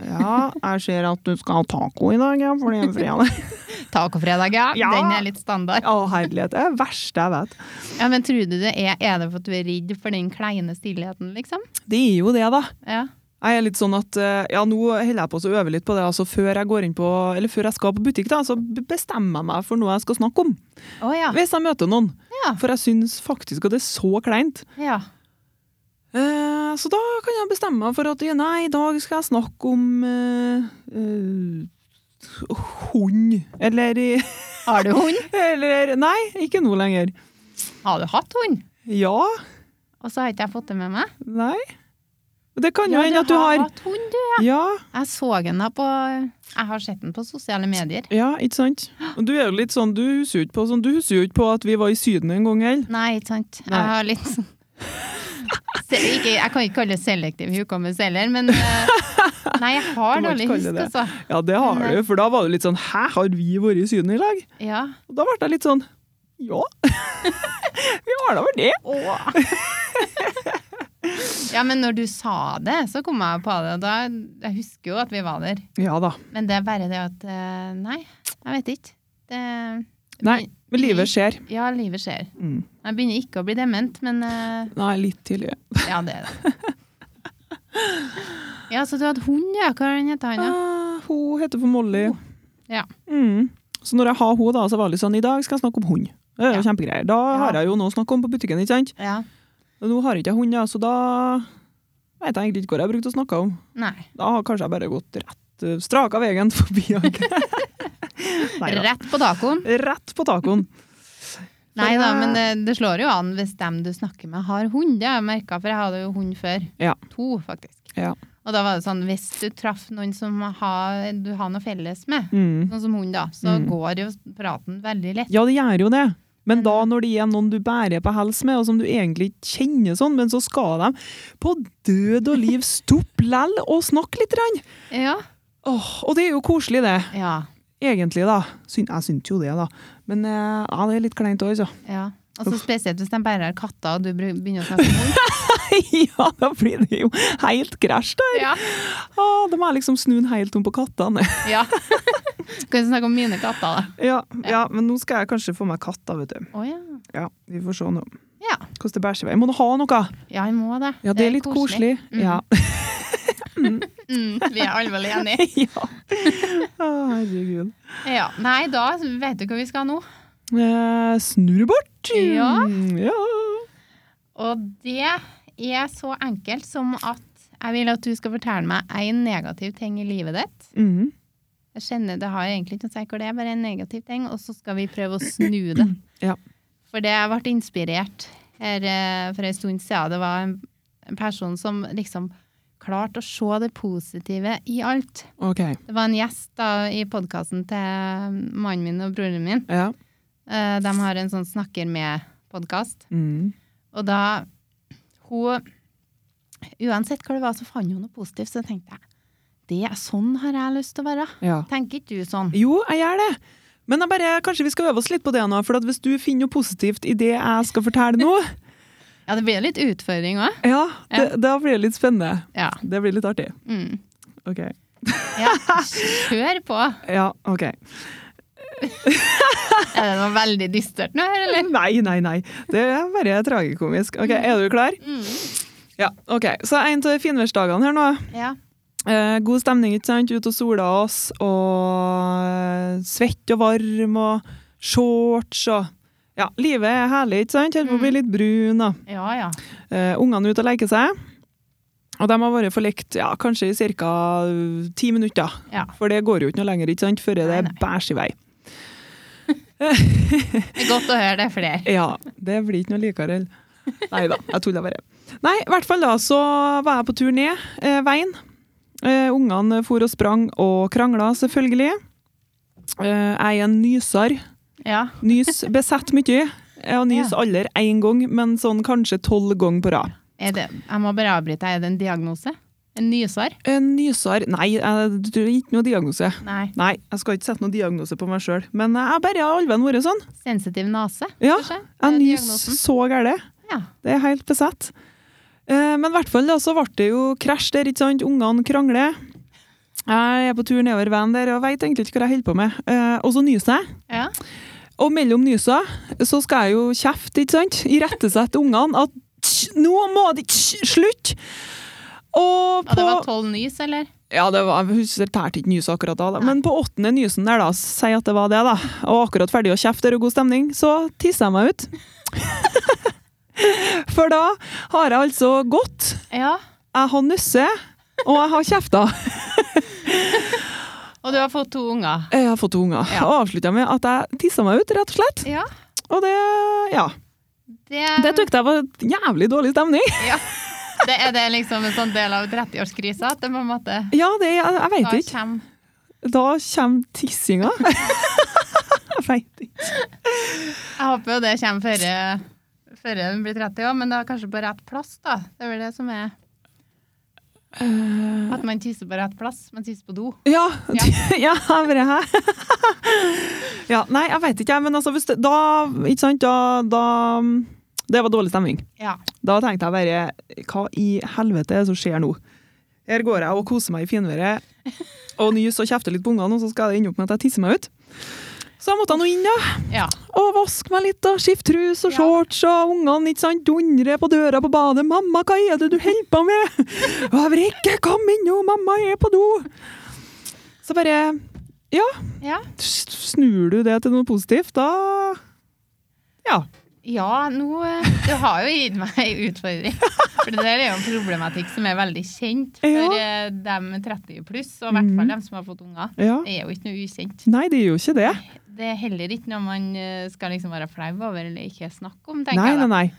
Ja, jeg ser at du skal ha taco i dag, ja, for det er fredag. Tacofredag, ja. Ja. Den er litt standard. Å, herlighet. Det er det verste jeg vet. Ja, Men tror du det er Er det for at du er redd for den kleine stillheten, liksom? Det er jo det, da. Ja. Jeg er litt sånn at, eh, ja, Nå holder jeg på å øve litt på det. altså Før jeg går inn på, eller før jeg skal på butikk, da, så b- bestemmer jeg meg for noe jeg skal snakke om. Å ja. Hvis jeg møter noen. Ja. For jeg syns faktisk at det er så kleint. ja. Eh, så da kan jeg bestemme meg for at ja, nei, i dag skal jeg snakke om eh, eh, hund. Eller, i- Har du hund? eller Nei, ikke nå lenger. Har du hatt hund? Ja. Og så har ikke jeg fått det med meg. Nei. Det kan jo Ja, hende at du har hatt hund, du. Ja, Jeg så den da på Jeg har sett den på sosiale medier. ja, ikke sant? Og du er jo litt sånn, du husker jo ikke på, sånn, du husker jo ikke på at vi var i Syden en gang, heller. Nei, ikke sant. Nei. Jeg har litt sånn Se- ikke, Jeg kan ikke kalle det selektiv hukommelse heller, men eh, Nei, jeg har Du må ikke dårlig kalle husk, det det. altså. Ja, det har Nei. du, for da var du litt sånn Hæ, har vi vært i Syden i lag? Ja. Og da ble jeg litt sånn Ja, vi har da vært det. ja, men når du sa det, så kom jeg på det. og Da, jeg husker jo at vi var der. Ja da. Men det er bare det at eh, Nei, jeg vet ikke. Det, Nei, men livet skjer. ja, livet skjer. Mm. Jeg begynner ikke å bli dement, men eh, Nei, litt tidlig. Ja, det er det. Ja, så du hadde hund, ja. Hva den heter han, da? Ah, hun heter for Molly. Ja. Mm. Så når jeg har hun da, så var det litt sånn, i dag skal jeg snakke om hund. Det er jo Ja. kjempegreier. Da Ja. har jeg jo noe å snakke om på butikken, ikke sant? Ja. Og nå har jeg ikke hund, ja, så da vet jeg egentlig ikke hva jeg brukte å snakke om. Nei. Da har kanskje jeg bare gått rett eh, straka veien forbi han. Nei da. Rett på tacoen. Rett på tacoen. Nei da, eh, men det, det slår jo an hvis dem du snakker med, har hund. Det har jeg merka, for jeg hadde jo hund før. Ja. To, faktisk. Ja. Og da var det sånn, hvis du traff noen som har, du har noe felles med, Mm. sånn som hund, da, så Mm. går jo praten veldig lett. Ja, det gjør jo det. Men Men- da når det er noen du bærer på hels med, og som du egentlig ikke kjenner sånn, men så skal de på død og liv stoppe lell og snakke litt. Rann. Ja. Åh, og det er jo koselig, det. Ja. Egentlig, da. Syn, jeg syns jo det, da. Men eh, ja, det er litt kleint òg, så. ja. Og så spesielt hvis de bare har katter, og du bru- begynner å snakke om hund. ja, da blir det jo helt krasj, da. Ja. Ah, da må jeg liksom snu den helt om på kattene. ja. Kan vi snakke om mine katter, da? ja, ja, men nå skal jeg kanskje få meg katt, da, vet du. Å ja. Ja, Vi får se nå. Ja. Hvordan det bærer seg. Jeg må nå ha noe. Ja, jeg må det. Ja, det er litt koselig. Mm. Ja. Mm, vi er alvorlig enige. ja. Å, herregud. Ja. Nei, da vet du hva vi skal nå. Eh, snurre bort. Mm, Ja. ja. Og det er så enkelt som at jeg vil at du skal fortelle meg én negativ ting i livet ditt. Mhm. Jeg kjenner Det har egentlig ikke noe å si hvor det er, bare en negativ ting. Og så skal vi prøve å snu det. Ja. For det jeg ble inspirert her eh, for en stund siden. Det var en, en person som liksom klarte å se det positive i alt. OK. Det var en gjest da, i podkasten til mannen min og broren min. Ja. Eh, De har en sånn snakker med-podkast. Mhm. Og da hun Uansett hva det var, så fant hun noe positivt. Så tenkte jeg det er sånn har jeg lyst til å være. ja. Tenker ikke du sånn? Jo, jeg gjør det. Men jeg bare, kanskje vi skal øve oss litt på det nå, for at hvis du finner noe positivt i det jeg skal fortelle nå, Ja, det blir litt utfordring òg. ja, det, da blir det litt spennende. Ja. Det blir litt artig. Mm. Ok. ja. Kjør på. Ja, ok. Er det noe veldig dystert nå her, eller? Nei, nei, nei. Det er bare tragikomisk. Ok, er du klar? Mm. Ja, ok. Så en av finværsdagene her nå. Ja. Eh, god stemning, ikke sant? Ut og sola oss, og eh, svett og varm, og shorts, og... Ja, livet er herlig, ikke sant? Helt på å Mm. bli litt brun, og... Ja, ja. Eh, ungene ut og leke seg. Og de har vært forlekt ja, kanskje i ca. ti minutter. Ja. For det går jo ikke noe lenger ikke sant? før det Nei, er nei. bæsj i vei. Det er godt å høre det er flere. Ja, det blir ikke noe likere. Nei da, jeg tuller bare. Nei, i hvert fall da så var jeg på tur ned eh, veien. Eh, ungene for og sprang og krangla, selvfølgelig. Eh, jeg er en nyser. Ja. Nys besett mye. Jeg nyser aldri én gang, men sånn kanskje tolv ganger på rad. Er det, jeg må bare avbryte. Er det en diagnose? En nyser? En nyser Nei, jeg tror ikke noe diagnose. Nei. Nei, jeg skal ikke sette noen diagnose på meg sjøl, men jeg har bare alven vært sånn. Sensitiv nase, Ja, kanskje? jeg Det er nyser diagnosen. så gæle. Ja. Det er helt besatt. Eh, Men i hvert fall da, så ble det jo krasj der, ikke sant. Ungene krangler. Jeg er på tur nedover veien der og veit egentlig ikke hva jeg holder på med. Eh, Og så nyser jeg. ja. Og mellom nysa så skal jeg jo kjefte, ikke sant? Irettesette ungene at «Tsj, nå må de tsj, slutt! Og Og på det var tolv nys, eller? Ja, det var, jeg husker tærte ikke nyset akkurat da, da. Men på åttende nysen der, da, si at det var det, da. Og akkurat ferdig å kjefte og god stemning, så tisser jeg meg ut. For da har jeg altså gått, Ja. jeg har nusset, og jeg har kjefta. Og du har fått to unger? Jeg har fått to unger. Ja. Og avslutta med at jeg tissa meg ut, rett og slett. Ja. Og det Ja. Det, Det tok jeg var jævlig dårlig stemning. ja. det er det liksom en sånn del av 30-årskrisa? At det på en måte Ja, det, jeg, jeg da veit ikke. kommer Da kommer tissinga. jeg veit ikke. Jeg håper jo det kommer før, før den blir 30 òg, men det er kanskje på rett plass, da. Det er vel det som er Eh. At man tisser på rett plass, men tisser på do. Ja, ja bare her. ja, nei, jeg veit ikke, jeg. Men altså, hvis det, da Ikke sant, da, da Det var dårlig stemning. Ja. Da tenkte jeg bare Hva i helvete er det som skjer nå? Her går jeg og koser meg i finværet og nyser og kjefter litt på ungene, og så skal det ende opp med at jeg tisser meg ut. Så jeg måtte nå inn, da. ja. Og vaske meg litt, og skifte trus og Ja. shorts, og ungene ikke sant, dundrer på døra på badet. 'Mamma, hva er det du holder på med?' Og jeg bare 'Ikke kom inn nå, mamma er på do'. Så bare Ja, ja. s- snur du det til noe positivt, da Ja. Ja, nå eh, Du har jo gitt meg en utfordring. For det der er jo en problematikk som er veldig kjent for Ja. Mhm. eh, dem 30 pluss, og i hvert fall dem som har fått unger. ja. Det er jo ikke noe ukjent. Nei, det er jo ikke det. Det er heller ikke noe man eh, skal liksom være flau over eller ikke snakke om, tenker Nei, nei, jeg. nei.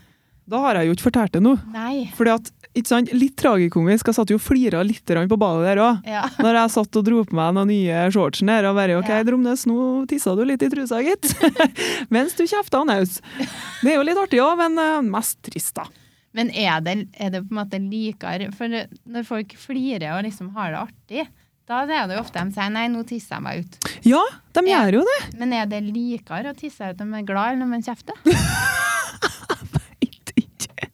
Da har jeg jo ikke fortalt det nå. da. Nei. Fordi at, ikke sant, litt tragikomisk, jeg satt jo og flira litt grann på badet der òg. Ja. Når jeg satt og dro på meg noen nye shortsen her, og bare OK, Ja. Dromnes, nå tissa du litt i trusa, gitt. Mens du kjefta og naus. Det er jo litt artig òg, men eh, mest trist, da. Men er det, er det på en måte likere For det- når folk flirer og liksom har det artig, da er det jo ofte de sier 'nei, nå tisser jeg meg ut'. Ja, de Ja. gjør jo det. Men er det likere å tisse ut når man er glad, eller når man kjefter? Veit ikke.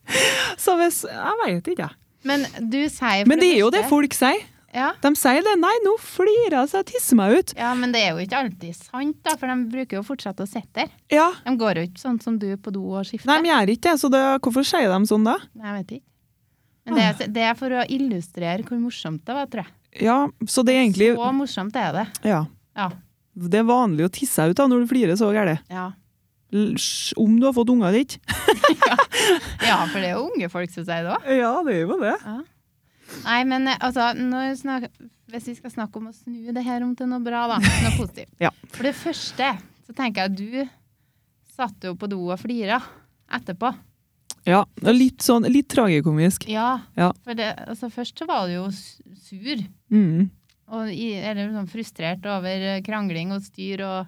Så hvis Jeg veit ikke, jeg. Men du sier for Men det er jo det første- folk sier. Ja. De sier det. Nei, nå flirer jeg så jeg tisser meg ut. Ja, men det er jo ikke alltid sant, da, for de bruker jo fortsatt å sitte der. Ja. De går jo ikke sånn som du på do og skifter. Nei, de gjør ikke det, så det, hvorfor sier de sånn da? Nei, jeg vet ikke. Men Ah. det er, det er for å illustrere hvor morsomt det var, tror jeg. Ja, så det er egentlig Så morsomt er det. Ja. Ja. Det er vanlig å tisse seg ut da, når du flirer så gærent. Ja, L- sj- Om du har fått unger eller ikke. ja for det er jo unge folk som sier det òg. Ja, det er jo det. Nei, men eh, altså, når vi snak- hvis vi skal snakke om å snu det her om til noe bra, da, noe positivt Ja. For det første så tenker jeg at du satt jo på do og flira etterpå. Ja, det er litt sånn, litt tragikomisk. Ja. Ja. For det, altså, først så var du jo s- sur. Mm. og i, eller sånn frustrert over eh, krangling og styr og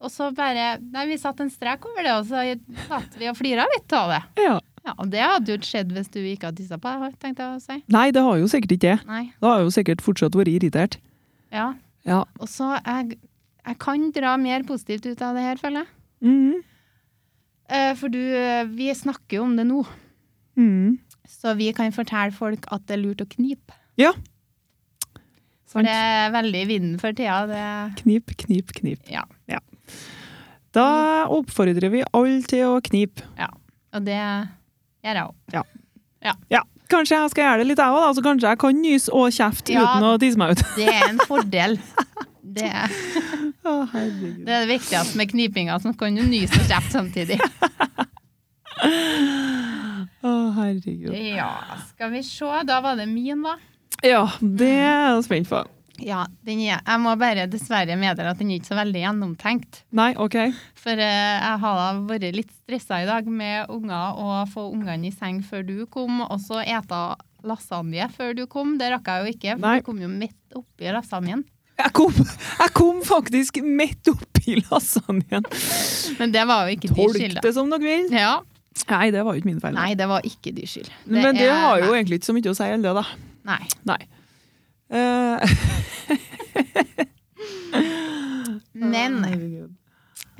og så bare Nei, vi satte en strek over det, og så satt vi og flira litt av det. Ja. Ja, og det hadde jo ikke skjedd hvis du ikke hadde tissa på deg, tenkte jeg å si. Nei, det har jo sikkert ikke det. Nei. Det har jo sikkert fortsatt vært irritert. Ja. Ja. Og så jeg, jeg kan dra mer positivt ut av det her, føler jeg. Mm. Eh, for du, eh, vi snakker jo om det nå, Mm. så vi kan fortelle folk at det er lurt å knipe. For Sant. det er veldig i vinden for tida. Det, Knip, knip, knip. ja. Da oppfordrer vi alle til å knipe. Og det gjør jeg òg. Ja, kanskje jeg skal gjøre det litt jeg òg, da. Så kanskje jeg kan nyse og kjefte Ja. uten å tisse meg ut. Det er en fordel. Det er Å, herregud. Det er det viktigste med knipinga, som kan du nyse og kjefte samtidig. Å, herregud. Ja, skal vi se. Da var det min, da. Ja, det er jeg spent på. Ja, den er, Jeg må bare dessverre meddele at den er ikke så veldig gjennomtenkt. Nei, OK. For eh, jeg har da vært litt stressa i dag med unger og få ungene i seng før du kom, og så eta lasagne før du kom. Det rakk jeg jo ikke, for Nei. du kom jo midt oppi lasagnen. Jeg kom, jeg kom faktisk midt oppi lasagnen. Men det var jo ikke din Tolk skyld. da. det som dere vil. Ja. Nei, det var jo ikke min feil. Nei, det var ikke din skyld. Men det er- har jo egentlig ikke så mye å si heller, da. Nei. Nei. Eh, Men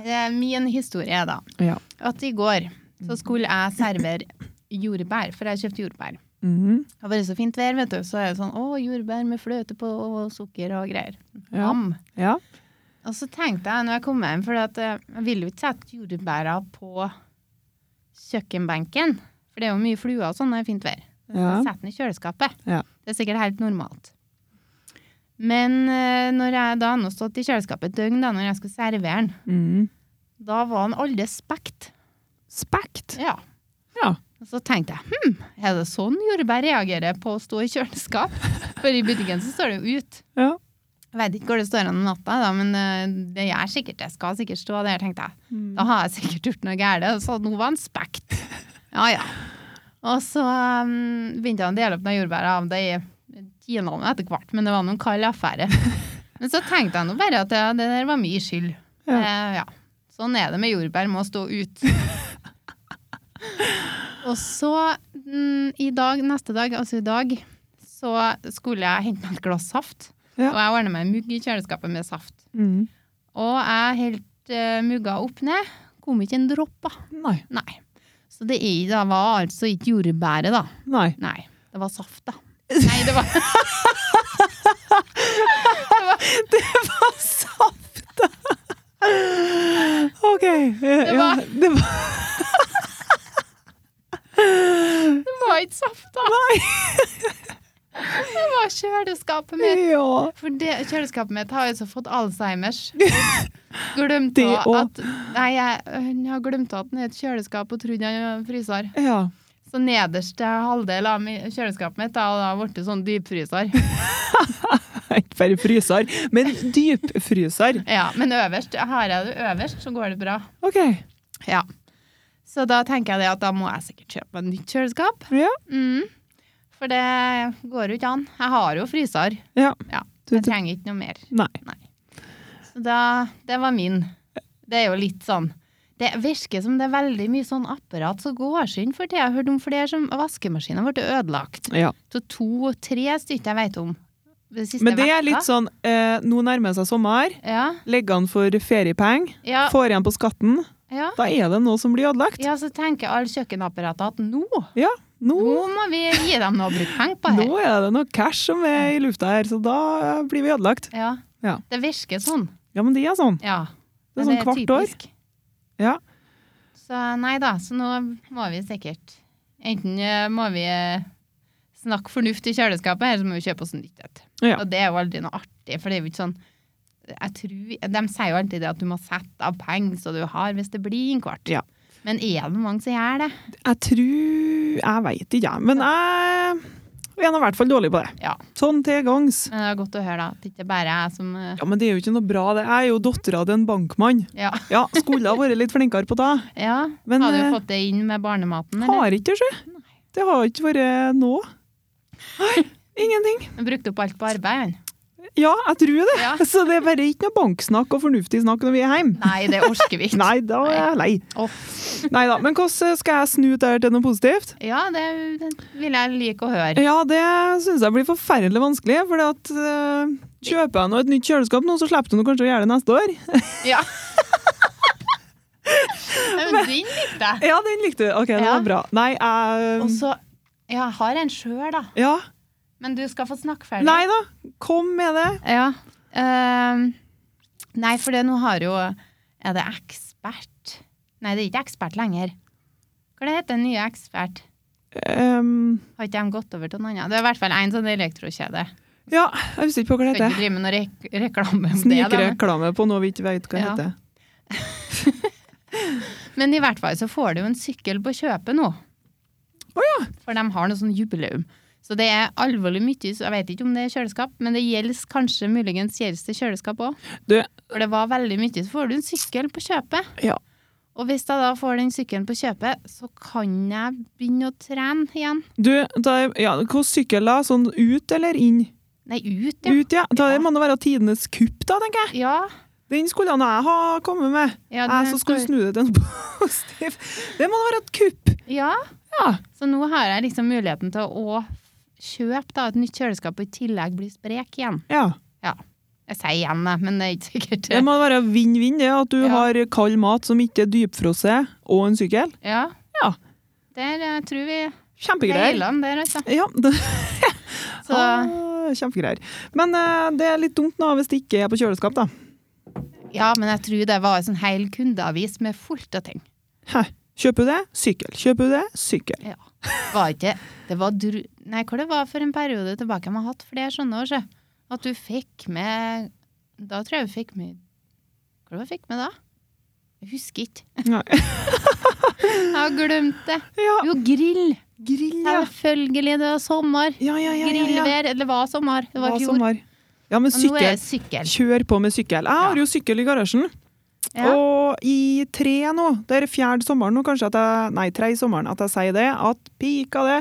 eh, min historie er da ja. at i går så skulle jeg servere jordbær, for jeg kjøpte jordbær. Mhm. Det har vært så fint vær, vet du, så er det sånn å, jordbær med fløte på og sukker og greier. Ja. Nam. ja. Og så tenkte jeg når jeg kom hjem, for at eh, jeg ville jo ikke sette jordbæra på kjøkkenbenken, for det er jo mye fluer og sånn når det er fint vær. Ja. Ja. Sett den i kjøleskapet. Ja. Det er sikkert helt normalt. Men eh, når jeg da nå stått i kjøleskapet et døgn da, når jeg skulle servere den, Mhm. da var den aldri spekt. Spekt. Ja. Ja. Og Så tenkte jeg, hm, er det sånn jordbær reagerer på å stå i kjøleskap? For i butikken så står det jo ut. Ja. Jeg vet ikke hvor det står an om natta, da, men eh, det Mm. Altså, gjør sikkert det. Skal sikkert stå der, tenkte jeg. Da har jeg sikkert gjort noe galt. Så nå var han spekt. Ja, ja. Og så um, begynte han å dele opp noen jordbær av det i kinene etter hvert, men det var noen kald affære. men så tenkte jeg nå bare at ja, det der var min skyld. Ja. Eh, ja. Sånn er det med jordbær, må stå ut. og så mm, i dag, neste dag, altså i dag, så skulle jeg hente meg et glass saft. Ja. Og jeg ordna meg en mugg i kjøleskapet med saft. Mm. Og jeg helt eh, mugga opp ned. Kom ikke en dråpe. Nei. Nei. Så det, er, det var altså ikke jordbæret, da. Nei. Nei, det var saft, da. Nei, det var Saft! OK. Det var- ja, det var Det var ikke saft, da. Nei. det var kjøleskapet mitt. Ja. For det, kjøleskapet mitt har altså fått Alzheimers. Glemt Det av også. at Nei, jeg, jeg har glemt av at den er et kjøleskap og trodde han var fryser. ja. Så nederste halvdel av mi- kjøleskapet mitt da, og da ble det sånn dypfryser. Ikke bare fryser, men dypfryser. Ja, men øverst, har jeg det øverst, så går det bra. OK. Ja. Så da tenker jeg det at da må jeg sikkert kjøpe meg nytt kjøleskap. Ja. Mm. For det går jo ikke an. Jeg har jo fryser. ja. Ja, Du- jeg trenger ikke noe mer. Nei. Så da, det var min. Det er jo litt sånn Det virker som det er veldig mye sånn apparat som går seg inn for tida. Jeg har hørt om flere som vaskemaskiner ble ødelagt. Ja. Så to-tre stykker jeg vet om. Det siste Men det er vekka. litt sånn eh, Nå nærmer det seg sommer. Ja, Legger an for feriepenger. ja, Får igjen på skatten. ja. Da er det noe som blir ødelagt. ja, så tenker alle kjøkkenapparatet at nå Ja. Nå, Nå må vi gi dem noe å bruke penger på her. Oh. nå er det noe cash som er i lufta her, så da eh, blir vi ødelagt. Ja. Ja. Det virker sånn. Ja, men det er sånn. Ja. Det er Men sånn hvert år. typisk. Ja. Så nei da, så nå må vi sikkert Enten eh, må vi eh, snakke fornuft i kjøleskapet, eller så må vi kjøpe oss nytt et. Ja. Og det er jo aldri noe artig, for det er jo ikke sånn jeg tror, De sier jo alltid det at du må sette av penger så du har hvis det blir en kvart. Ja. Men er det mange som gjør det? Jeg tror Jeg veit ikke, jeg. Men jeg er nå i hvert fall dårlig på det. Ja. Sånn til gangs. Men det er godt å høre da, at det ikke bare er jeg som eh, Ja, men det er jo ikke noe bra, det. Jeg er jo dattera til en bankmann. Ja. Ja, skulle ha vært litt flinkere på det. ja. Men har du eh, fått det inn med barnematen, eller? har ikke det, sjø. Det har ikke vært nå. Nei, ingenting. Han brukte opp alt på arbeid, han. Ja, jeg tror det. Ja. Så det er bare ikke noe banksnakk og fornuftig snakk når vi er hjemme. Nei, det orker vi ikke. Nei, da er jeg lei. Åh. Nei da. Men hvordan skal jeg snu det her til noe positivt? Ja, det, det vil jeg like å høre. Ja, det syns jeg blir forferdelig vanskelig. For eh, kjøper jeg nå et nytt kjøleskap nå, så slipper du nå kanskje å gjøre det neste år. Ja. Men din likte jeg. Ja, den likte du. OK, det Ja. var bra. Nei, Og jeg så Jeg har en sjøl, da. Ja. Men du skal få snakke ferdig. Nei da. Kom med det. Ja. ehm, nei, for det nå har jo Er det ekspert? Nei, det er ikke ekspert lenger. Hva det heter den nye ekspert? Ehm, Har ikke de gått over til noen annen? Det er i hvert fall én sånn elektrokjede. ja, jeg husker ikke på hva det Skal heter. ikke drive med noe rek reklame om det. da, men- Snikreklame på noe vi ikke vet hva Ja. heter. Men i hvert fall så får du jo en sykkel på kjøpet nå. Å ja. For de har noe sånn jubileum. Så det er alvorlig mye, så jeg vet ikke om det er kjøleskap, men det gjelder kanskje muligens gjelder det kjøleskap òg. Du, For det var veldig mye, så får du en sykkel på kjøpet. ja. Og hvis jeg da får den sykkelen på kjøpet, så kan jeg begynne å trene igjen. Du, da, ja, hva sykkel da? Sånn ut eller inn? Nei, ut, ja. Ut, ja. Da Ja. må det være tidenes kupp, da, tenker jeg. Ja. Den skulle han jeg ha kommet med. Ja, den jeg som skulle skal- snu det til en positiv. Det må da være et kupp. ja. Ja. Så nå har jeg liksom muligheten til å kjøpe da, et nytt kjøleskap og i tillegg bli sprek igjen. ja. Ja. Jeg sier igjen, jeg, men det er ikke sikkert. Det må være vinn-vinn, det. At du Ja. har kald mat som ikke er dypfrosset, og en sykkel. Ja. Ja. Der eh, tror vi Kjempegreier. Heiland der, altså. Ja, det, Så ah, kjempegreier. Men eh, det er litt dumt nå hvis det ikke er på kjøleskap, da. Ja, men jeg tror det var en sånn hel kundeavis med fullt av ting. Hæ. Kjøper du det? Sykkel. Kjøper du det? Sykkel. Ja. Var ikke Det var dru... Nei, hva det var for en periode tilbake jeg har hatt flere sånne år, så. At du fikk med Da tror jeg vi fikk med Hva var det vi fikk med da? Jeg husker ikke. Nei. Jeg har glemt det. Ja. Jo, grill. Grill, ja. Selvfølgelig, det var sommer. Ja, ja, ja. ja, ja. Grillvær. Eller det var sommer. Det var Hva i som fjor. var. Ja, men Og nå er det sykkel. sykkel. Kjør på med sykkel. Jeg Ja. har jo sykkel i garasjen. Ja. Og i tre nå, det er fjerde sommeren nå kanskje, at jeg, nei, tre sommeren, at jeg sier det, at pika det,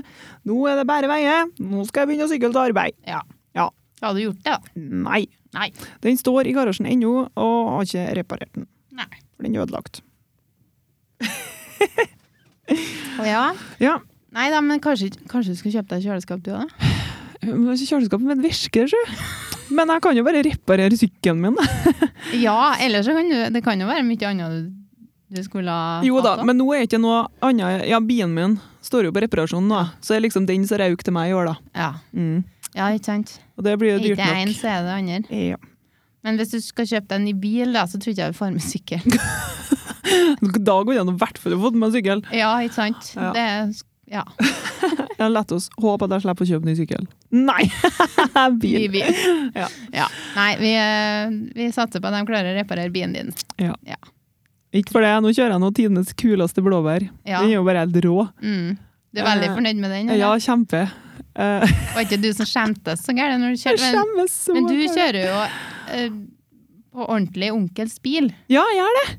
nå er det bare veie, nå skal jeg begynne å sykle til arbeid. ja. Ja. Har du gjort det, da? Nei, Nei. den står i garasjen ennå, og har ikke reparert den, Nei. for den er ødelagt. Å ja. Ja, Nei da, men kanskje, kanskje du skal kjøpe deg kjøleskap du òg, da? men kjøleskapet mitt virker, sjø. Men jeg kan jo bare reparere sykkelen min. Ja, ellers så kan du Det kan jo være mye annet du, du skulle ha Jo da, hatt, men nå er ikke noe annet, ja, bilen min står jo på reparasjon nå, så er liksom den som røyk til meg i år da. Ja. Mm. ja, ikke sant? Og det blir Er jo ikke dyrt det én, nok. så er det det andre. Ja. Men hvis du skal kjøpe deg en ny bil, da, så tror ikke jeg du får med sykkel. Da går det an å hvert fall fått meg en sykkel. Ja, ikke sant? Ja. Det er ja. Jeg lette oss håpe at jeg slipper å kjøpe ny sykkel. Nei! Ny Bil. bil. Ja. Ja. Nei, vi, eh, vi satser på at de klarer å reparere bilen din. Ikke for det, nå kjører jeg nå tidenes kuleste blåbær. Ja. Den er jo bare helt rå. Mm. Du er veldig Eh, fornøyd med den? Ja, eller? kjempe. Eh, Var ikke du som skjemtes så gærent når du Jeg kjørte? Men, skjemmes så men du fælt. kjører jo eh, på ordentlig onkels bil. Ja, jeg gjør det.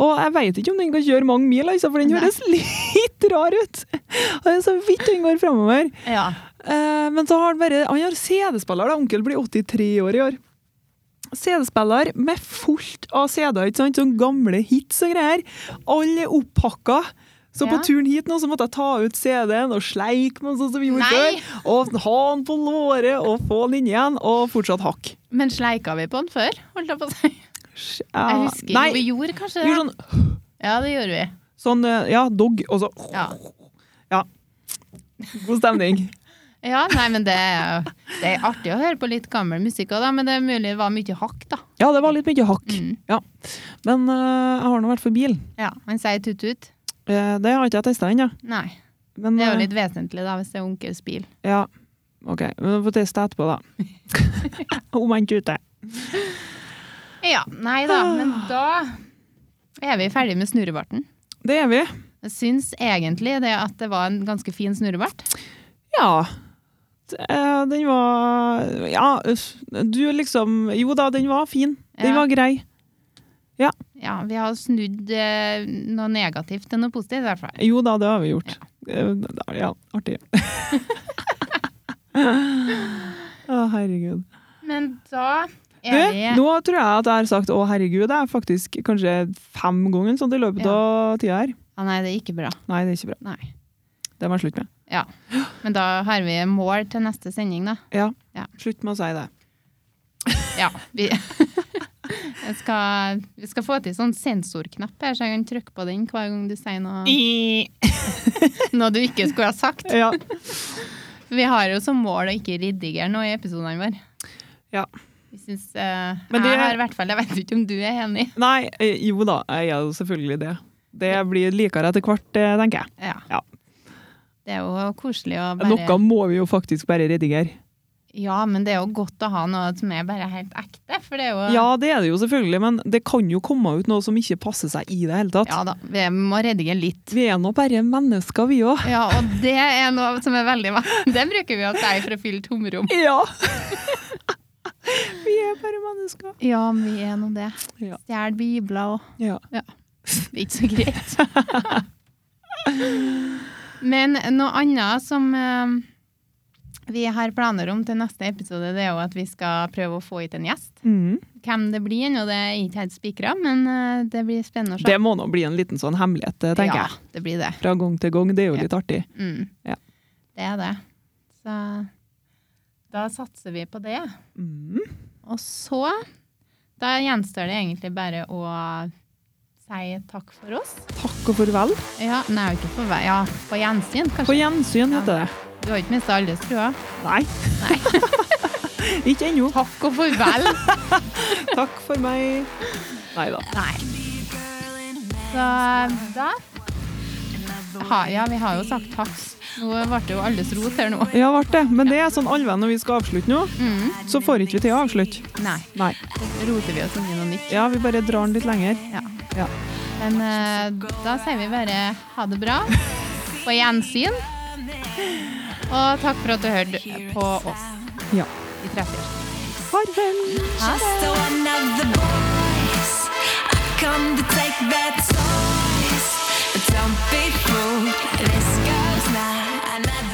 Og jeg veit ikke om den kan kjøre mange mil, altså, for den Nei. høres litt rar ut. Og det er så vidt den går framover. Ja. Eh, men så har han bare Han har CD-spiller, da. Onkel blir 83 år i år. CD-spiller med fullt av CD-er, ikke sant? Sånne gamle hits og greier. Alle er opphakka. Så på Ja. turen hit nå så måtte jeg ta ut CD-en og sleike meg sånn som vi Nei! gjorde før. Og ha den på låret og få den inn igjen, og fortsatt hakk. Men sleika vi på den før? Holdt jeg på å si. Sj- Jeg eh, husker Nei, ikke. Vi gjorde kanskje det? gjorde sånn, Ja, det gjorde vi. sånn eh, Ja, dog, og så Ja. ja. God stemning. Ja, nei, men det er, det er artig å høre på litt gammel musikk òg, men det er mulig det var mye hakk, da. Ja, det var litt mye hakk. Mm. Ja. Men eh, jeg har nå vært for bil. Ja, Han sier tut-tut. Eh, Det har ikke jeg testa ennå. Nei. Men, Det er eh, jo litt vesentlig, da, hvis det er onkels bil. Ja, ok. Men vi får teste etterpå, da. Om han ikke ute. Ja, Ah. nei da, men da er vi ferdig med snurrebarten. Det er vi. Jeg syns egentlig det at det var en ganske fin snurrebart. Ja. Det, eh, Den var Ja, uff, du liksom Jo da, den var fin. Den Ja. var grei. Ja, vi har snudd eh, noe negativt til noe positivt, i hvert fall. Jo da, det har vi gjort. Eh, da- Ja, artig. Å, herregud. Men da Du, er vi nå tror jeg at jeg har sagt 'å, herregud' det er faktisk kanskje fem ganger sånn i løpet av tida her. ah, Nei, det er ikke bra. Nei, det er ikke bra. Nei. Det må jeg slutte med. Ja. Men da har vi mål til neste sending, da. Ja. Ja. Slutt med å si det. Ja. Vi, jeg skal, vi skal få til sånn sensorknapp her, så jeg kan trykke på den hver gang du sier noe, noe du ikke skulle ha sagt. Ja. Vi har jo som mål å ikke redigere noe i episodene våre. Ja. Vi syns, eh, Men det- jeg har i hvert fall, jeg vet ikke om du er enig. Nei, eh, jo da, jeg er jo selvfølgelig det. Det blir likere etter hvert, eh, tenker jeg. Ja. Ja. Det er jo koselig å bare Noe må vi jo faktisk bare redigere. Ja, men det er jo godt å ha noe som er bare helt ekte, for det er jo Ja, det er det jo selvfølgelig, men det kan jo komme ut noe som ikke passer seg i det hele tatt. Ja da, vi må redigere litt. Vi er nå bare mennesker, vi òg. Ja, og det er noe som er veldig Det bruker vi å si for å fylle tomrom. Ja. vi er bare mennesker. Ja, men vi er nå det. Ja. Stjel bibler og Ja. Det er ikke så greit. Men noe annet som eh, vi har planer om til neste episode, det er jo at vi skal prøve å få hit en gjest. Mm. Hvem det blir ennå, det er ikke helt spikra, men eh, det blir spennende å se. Det må nå bli en liten sånn hemmelighet, eh, tenker ja, jeg. det blir det. Fra gang til gang, det er jo Ja. litt artig. Mm. Ja. Det er det. Så da satser vi på det. Mm. Og så Da gjenstår det egentlig bare å si takk for oss. Takk og farvel. Ja, nei, ikke på vei. Ja, på gjensyn, På kanskje. gjensyn, Ja. heter det. Du har ikke mista alle skruer. Nei. ikke ennå. Takk og farvel. Takk for meg. Nei da. Nei. Så da ha, Ja, vi har jo sagt takk. Nå ble det jo alles rot her nå. Ja, ble det. Men det er sånn allvenn når vi skal avslutte nå, Mm. så får ikke vi til å avslutte. Nei, Nei. så roter vi oss inn i noe nytt. Ja, vi bare drar den litt lenger. Ja. Ja. Men eh, da sier vi bare ha det bra. På gjensyn. Og takk for at du hørte på oss. Ja. Vi treffes. Farvel. Ha det. Just one of the boys. I Come to take that toys. Don't be fooled. This girl's not another.